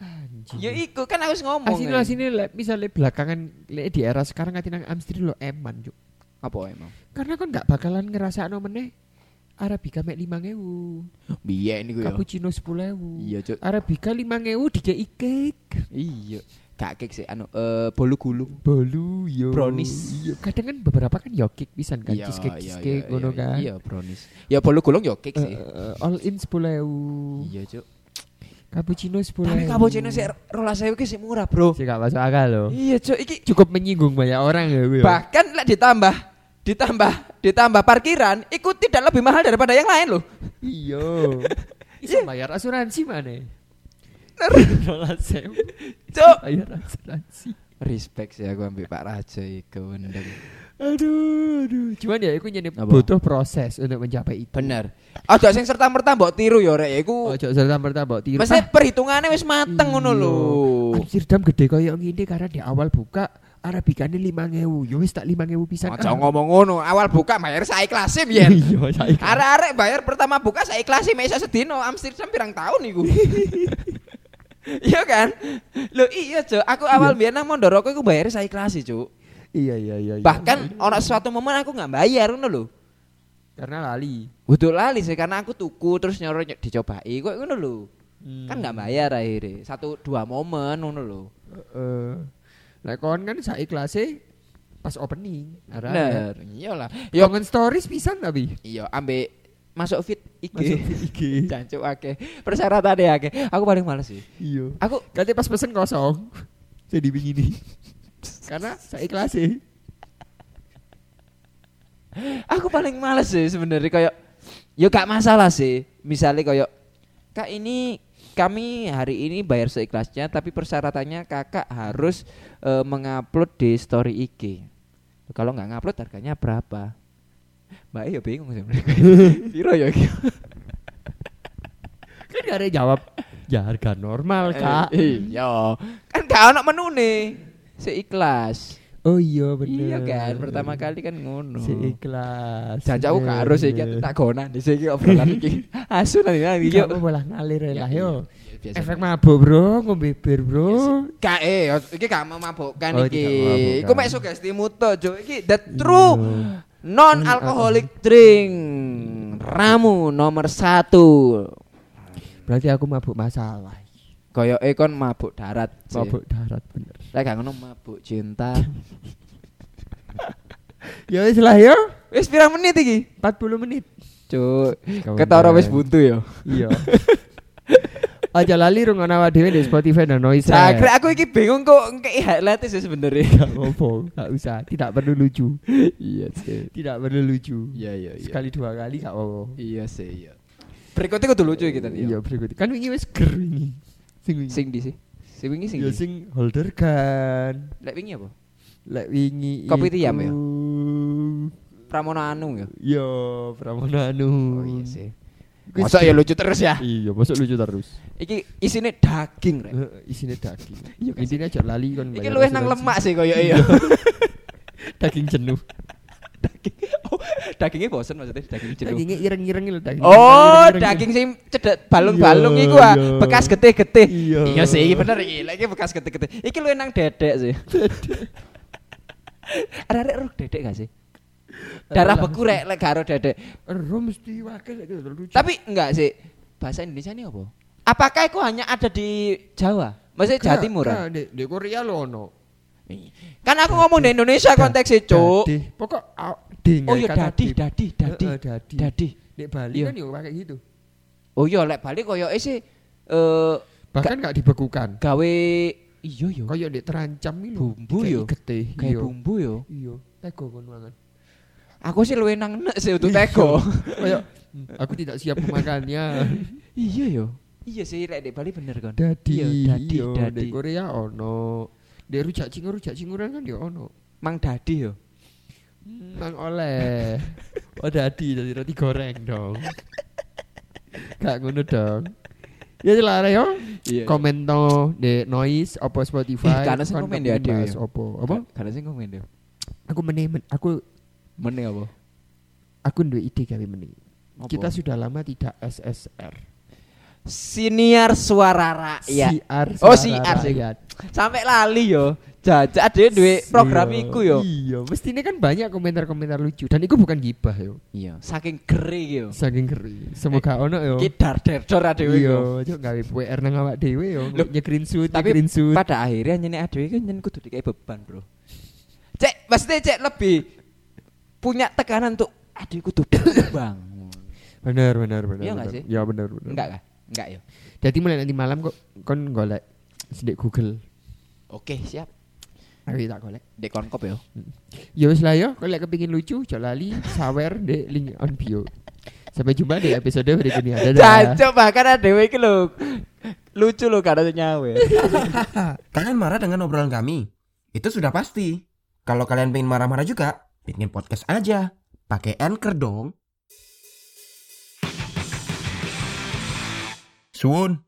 Speaker 3: Anjir.
Speaker 4: Ya iku kan aku wis ngomong. e.
Speaker 3: Asini
Speaker 4: ya.
Speaker 3: asini lek misalnya belakangan lek di era sekarang ngati nang Amsterdam lo eman cuk.
Speaker 4: Apa emang?
Speaker 3: Karena kan gak bakalan ngerasa no meneh Arabica mek 5000,
Speaker 4: Biyen niku ya.
Speaker 3: cappuccino 10000.
Speaker 4: Iya, Cuk.
Speaker 3: Arabica 5000 dikei cake.
Speaker 4: Iya. Gak kek sih anu eh bolu gulung.
Speaker 3: Bolu yo.
Speaker 4: Brownies.
Speaker 3: Iya, kadang kan beberapa kan yo cake pisan kan
Speaker 4: Iya,
Speaker 3: cheesecake
Speaker 4: iya,
Speaker 3: cheesecake
Speaker 4: iya,
Speaker 3: ngono
Speaker 4: iya,
Speaker 3: kan.
Speaker 4: Iya, brownies. Ya bolu gulung yo kek
Speaker 3: Eh,
Speaker 4: sih.
Speaker 3: eh, all in 10000.
Speaker 4: Iya, Cuk.
Speaker 3: Cappuccino 10000.
Speaker 4: Tapi cappuccino sih rolas saya ki sih murah, Bro.
Speaker 3: Sih gak masuk akal loh.
Speaker 4: Iya, Cuk, iki
Speaker 3: Cukup menyinggung banyak orang ya gue.
Speaker 4: bahkan lek ditambah ditambah ditambah parkiran itu tidak lebih mahal daripada yang lain loh [LAUGHS]
Speaker 3: Iyo. Iya. Iso bayar asuransi mana? Dolar sewu.
Speaker 4: cok
Speaker 3: Bayar asuransi.
Speaker 4: respect sih aku ambil Pak Raja itu bener
Speaker 3: Aduh, aduh. Cuman ya aku nyanyi
Speaker 4: Apa?
Speaker 3: butuh proses untuk mencapai itu. Oh,
Speaker 4: bener ojo sing serta merta mbok Oh, tiru ya rek iku
Speaker 3: Ojo serta merta mbok tiru.
Speaker 4: mesti perhitungannya wis mateng ngono
Speaker 3: Iya.
Speaker 4: lho
Speaker 3: Amsterdam gede koyo ngene karena di awal buka Arabikane 5000. Yo Ya wis tak 5000 pisan.
Speaker 4: ojo
Speaker 3: Ah.
Speaker 4: ngomong ngono awal buka bayar saya ikhlasin biyen
Speaker 3: [LAUGHS] Iya, saiki.
Speaker 4: arek-arek bayar pertama buka saya ikhlasin mesa sedino Amsterdam pirang tahun
Speaker 3: [LAUGHS]
Speaker 4: iku Iya kan? Lho iya, Cuk. Aku awal biyen nang Mondoroko iku bayar saya ikhlasi, Cuk.
Speaker 3: Iya, iya, iya. iya.
Speaker 4: Bahkan orang suatu momen aku nggak bayar ngono lho.
Speaker 3: karena lali.
Speaker 4: Butuh lali sih karena aku tuku terus nyoro ny- dicobai kok ngono lho.
Speaker 3: Hmm,
Speaker 4: Kan nggak bayar akhirnya. Satu dua momen ngono lho.
Speaker 3: Heeh. Lah eh, kon kan saiki kelasnya pas opening. Arah-
Speaker 4: Bener. Iyalah.
Speaker 3: Yo
Speaker 4: Yo
Speaker 3: ngen stories pisan tapi.
Speaker 4: iya ambek masuk fit IG.
Speaker 3: Masuk IG.
Speaker 4: [LAUGHS] Jancuk akeh. Persyaratannya akeh. Aku paling males sih.
Speaker 3: Iya.
Speaker 4: Aku
Speaker 3: Katanya pas pesen kosong. Jadi begini. Karena saya kelas sih.
Speaker 4: aku paling males sih sebenarnya kayak yo gak masalah sih. Misalnya kayak Kak ini kami hari ini bayar seikhlasnya tapi persyaratannya Kakak harus eh, mengupload di story IG. Kalau nggak ngupload harganya berapa? Mbak ya bingung
Speaker 3: [LAUGHS]
Speaker 4: sebenarnya. Piro ya iki?
Speaker 3: Kan gak ada yang jawab. Ya harga normal kak.
Speaker 4: Eh, Iya. Kan gak ono menune. Seikhlas.
Speaker 3: Oh iya bener.
Speaker 4: Iya kan, pertama kali kan ngono.
Speaker 3: Seikhlas.
Speaker 4: Jangan aku gak harus iki aku tak gonan di sini obrolan
Speaker 3: [LAUGHS]
Speaker 4: iki. Asu nanti nanti
Speaker 3: Iya,
Speaker 4: yuk.
Speaker 3: aku malah ngalir ya lah
Speaker 4: gitu. Iya,
Speaker 3: yo.
Speaker 4: iya, biasa.
Speaker 3: Efek mabuk bro, ngombe bir bro.
Speaker 4: Kak eh yo- iki gak memabukkan
Speaker 3: Oh,
Speaker 4: iki.
Speaker 3: tidak memabukkan.
Speaker 4: Iku mek sugestimu to, Cuk. Iki the true
Speaker 3: Iya.
Speaker 4: non alcoholic drink. Ramu nomor satu
Speaker 3: Berarti aku mabuk masalah.
Speaker 4: Koyo eh kon mabuk darat. sih.
Speaker 3: Mabuk darat bener.
Speaker 4: Lek gak ngono mabuk cinta. [LAUGHS]
Speaker 3: Ya wis lah yo.
Speaker 4: Wis pirang menit iki?
Speaker 3: 40 menit. Oh,
Speaker 4: Cuk,
Speaker 3: Kawan-kawan.
Speaker 4: [LAUGHS] ketara wis buntu yo.
Speaker 3: Iya. Aja lali rungokno awak dhewe di Spotify dan Noise.
Speaker 4: Sakre aku iki bingung kok ngkei highlight sih sebenarnya.
Speaker 3: Gak ngomong, gak usah. Tidak perlu lucu.
Speaker 4: Iya sih.
Speaker 3: Tidak perlu lucu.
Speaker 4: Iya iya iya.
Speaker 3: Sekali dua kali gak apa-apa.
Speaker 4: Iya sih iya. Berikutnya kudu lucu iki tadi.
Speaker 3: Iya, berikut. Kan wingi wis ger wingi. Sing wingi.
Speaker 4: Sing di sih. Sing wingi sing.
Speaker 3: Ya
Speaker 4: di.
Speaker 3: sing holder kan.
Speaker 4: Lek wingi apa?
Speaker 3: Lek wingi
Speaker 4: Kopi tiam ya?
Speaker 3: iku-
Speaker 4: Pramono Anung ya.
Speaker 3: Yo, Iya, Pramono Anu.
Speaker 4: Oh iya sih.
Speaker 3: Wis
Speaker 4: Masa
Speaker 3: ger-
Speaker 4: ya lucu terus ya?
Speaker 3: Iya, Hmm, masuk lucu terus.
Speaker 4: Iki isine daging rek.
Speaker 3: Heeh, Isine daging.
Speaker 4: Iya, kan?
Speaker 3: Intinya aja lali kan.
Speaker 4: Iki
Speaker 3: bayar
Speaker 4: luwih nang
Speaker 3: asuransi.
Speaker 4: lemak sih koyo iya.
Speaker 3: [LAUGHS]
Speaker 4: [LAUGHS]
Speaker 3: Daging jenuh.
Speaker 4: Daging. Oh, dagingnya bosen maksudnya daging jeruk.
Speaker 3: Dagingnya ireng-ireng lho daging.
Speaker 4: Oh,
Speaker 3: ireng-ireng.
Speaker 4: daging sing cedek balung-balung
Speaker 3: Iya,
Speaker 4: iku ah,
Speaker 3: iya.
Speaker 4: bekas getih-getih.
Speaker 3: Iya.
Speaker 4: Iya sih, iki bener iki. Lek iki bekas getih-getih. Iki luwih nang dedek sih. Arek-arek roh dedek gak sih? Darah
Speaker 3: Lah,
Speaker 4: beku rek lek gak roh dedek.
Speaker 3: Ero Eh, mesti wakil lek gitu, lucu.
Speaker 4: Tapi enggak sih. Bahasa Indonesia ini apa? Apakah itu hanya ada di Jawa? Maksudnya Jawa
Speaker 3: Enggak,
Speaker 4: Timur? ah?
Speaker 3: enggak, Di, di Korea lo ono.
Speaker 4: Kan aku ngomong di Indonesia konteksnya, e, Cuk.
Speaker 3: Dadih. Pokok au- di
Speaker 4: Oh iya,
Speaker 3: ngarep
Speaker 4: dadi,
Speaker 3: kadip.
Speaker 4: dadi, dadi.
Speaker 3: Heeh, dadi.
Speaker 4: Dadi.
Speaker 3: Di Bali
Speaker 4: Iya.
Speaker 3: kan yo kayak gitu.
Speaker 4: Oh iya, lek Bali koyoke sih eh
Speaker 3: Bahkan gak dibekukan.
Speaker 4: gawe iya yo.
Speaker 3: Kayak di terancam ini
Speaker 4: Bumbu yo.
Speaker 3: Getih.
Speaker 4: Kayak bumbu yo.
Speaker 3: Iya. Tego kon mangan.
Speaker 4: Aku sih luwih nang nek sih untuk
Speaker 3: [LAUGHS]
Speaker 4: teko.
Speaker 3: Kayak "Hmm, aku tidak siap memakannya.
Speaker 4: iya yo. Iya sih lek di Bali bener kon.
Speaker 3: Dadi.
Speaker 4: Iya, dadi,
Speaker 3: Iya,
Speaker 4: dadi.
Speaker 3: Di Korea ono. Di rujak cingur, rujak cinguran kan yo ono.
Speaker 4: Mang Dadi yo.
Speaker 3: Nang oleh. Oh dadi dadi roti goreng dong. Gak ngono dong. Ya lah yo.
Speaker 4: Iya.
Speaker 3: Komen to di noise apa Spotify.
Speaker 4: Ih, karena sih
Speaker 3: kon
Speaker 4: komen ya,
Speaker 3: kebebas
Speaker 4: Dewi.
Speaker 3: Apa? Apa?
Speaker 4: Karena sing komen yo.
Speaker 3: Aku menemen aku
Speaker 4: Mene apa?
Speaker 3: aku duwe ide kali meni.
Speaker 4: Apa?
Speaker 3: Kita sudah lama tidak SSR.
Speaker 4: siniar suara rakyat.
Speaker 3: CR.
Speaker 4: Oh,
Speaker 3: Suara
Speaker 4: CR sih.
Speaker 3: Rakyat.
Speaker 4: Sampai lali yo. Jajak dhewe duwe program
Speaker 3: Iya.
Speaker 4: iku yo.
Speaker 3: Iya, mestinya kan banyak komentar-komentar lucu dan itu bukan gibah yo.
Speaker 4: Iya, saking geri iki yo.
Speaker 3: Saking ngeri. Semoga ono yo.
Speaker 4: Eh, Ki dar-der-dor adewe
Speaker 3: Iya,
Speaker 4: yo.
Speaker 3: cok gawe PR nang awak dhewe yo.
Speaker 4: Loh,
Speaker 3: Nye green suit, nye
Speaker 4: tapi
Speaker 3: green suit.
Speaker 4: Pada akhirnya nyenek adewe kan nyen kudu dikai beban, Bro. Cek, pasti cek lebih punya tekanan untuk aduh kudu [COUGHS] berkembang.
Speaker 2: Benar, benar, benar.
Speaker 4: Iya nggak
Speaker 2: benar.
Speaker 4: sih?
Speaker 2: Ya benar, benar.
Speaker 4: Enggak kah? Enggak ya.
Speaker 3: Jadi mulai nanti malam kok kon golek sedek Google.
Speaker 4: Oke, siap.
Speaker 3: Aku tak golek.
Speaker 4: Dek konkop ya.
Speaker 3: Ya wis lah yo, golek kepingin lucu, ojo lali sawer di link on bio. Sampai jumpa di episode berikutnya. Dadah.
Speaker 4: Cacok bahkan adewe iki lho. Lucu lho karena [LAUGHS] nyawer.
Speaker 1: Kalian marah dengan obrolan kami? Itu sudah pasti. Kalau kalian pengen marah-marah juga, bikin podcast aja. Pakai Anchor dong. Suun.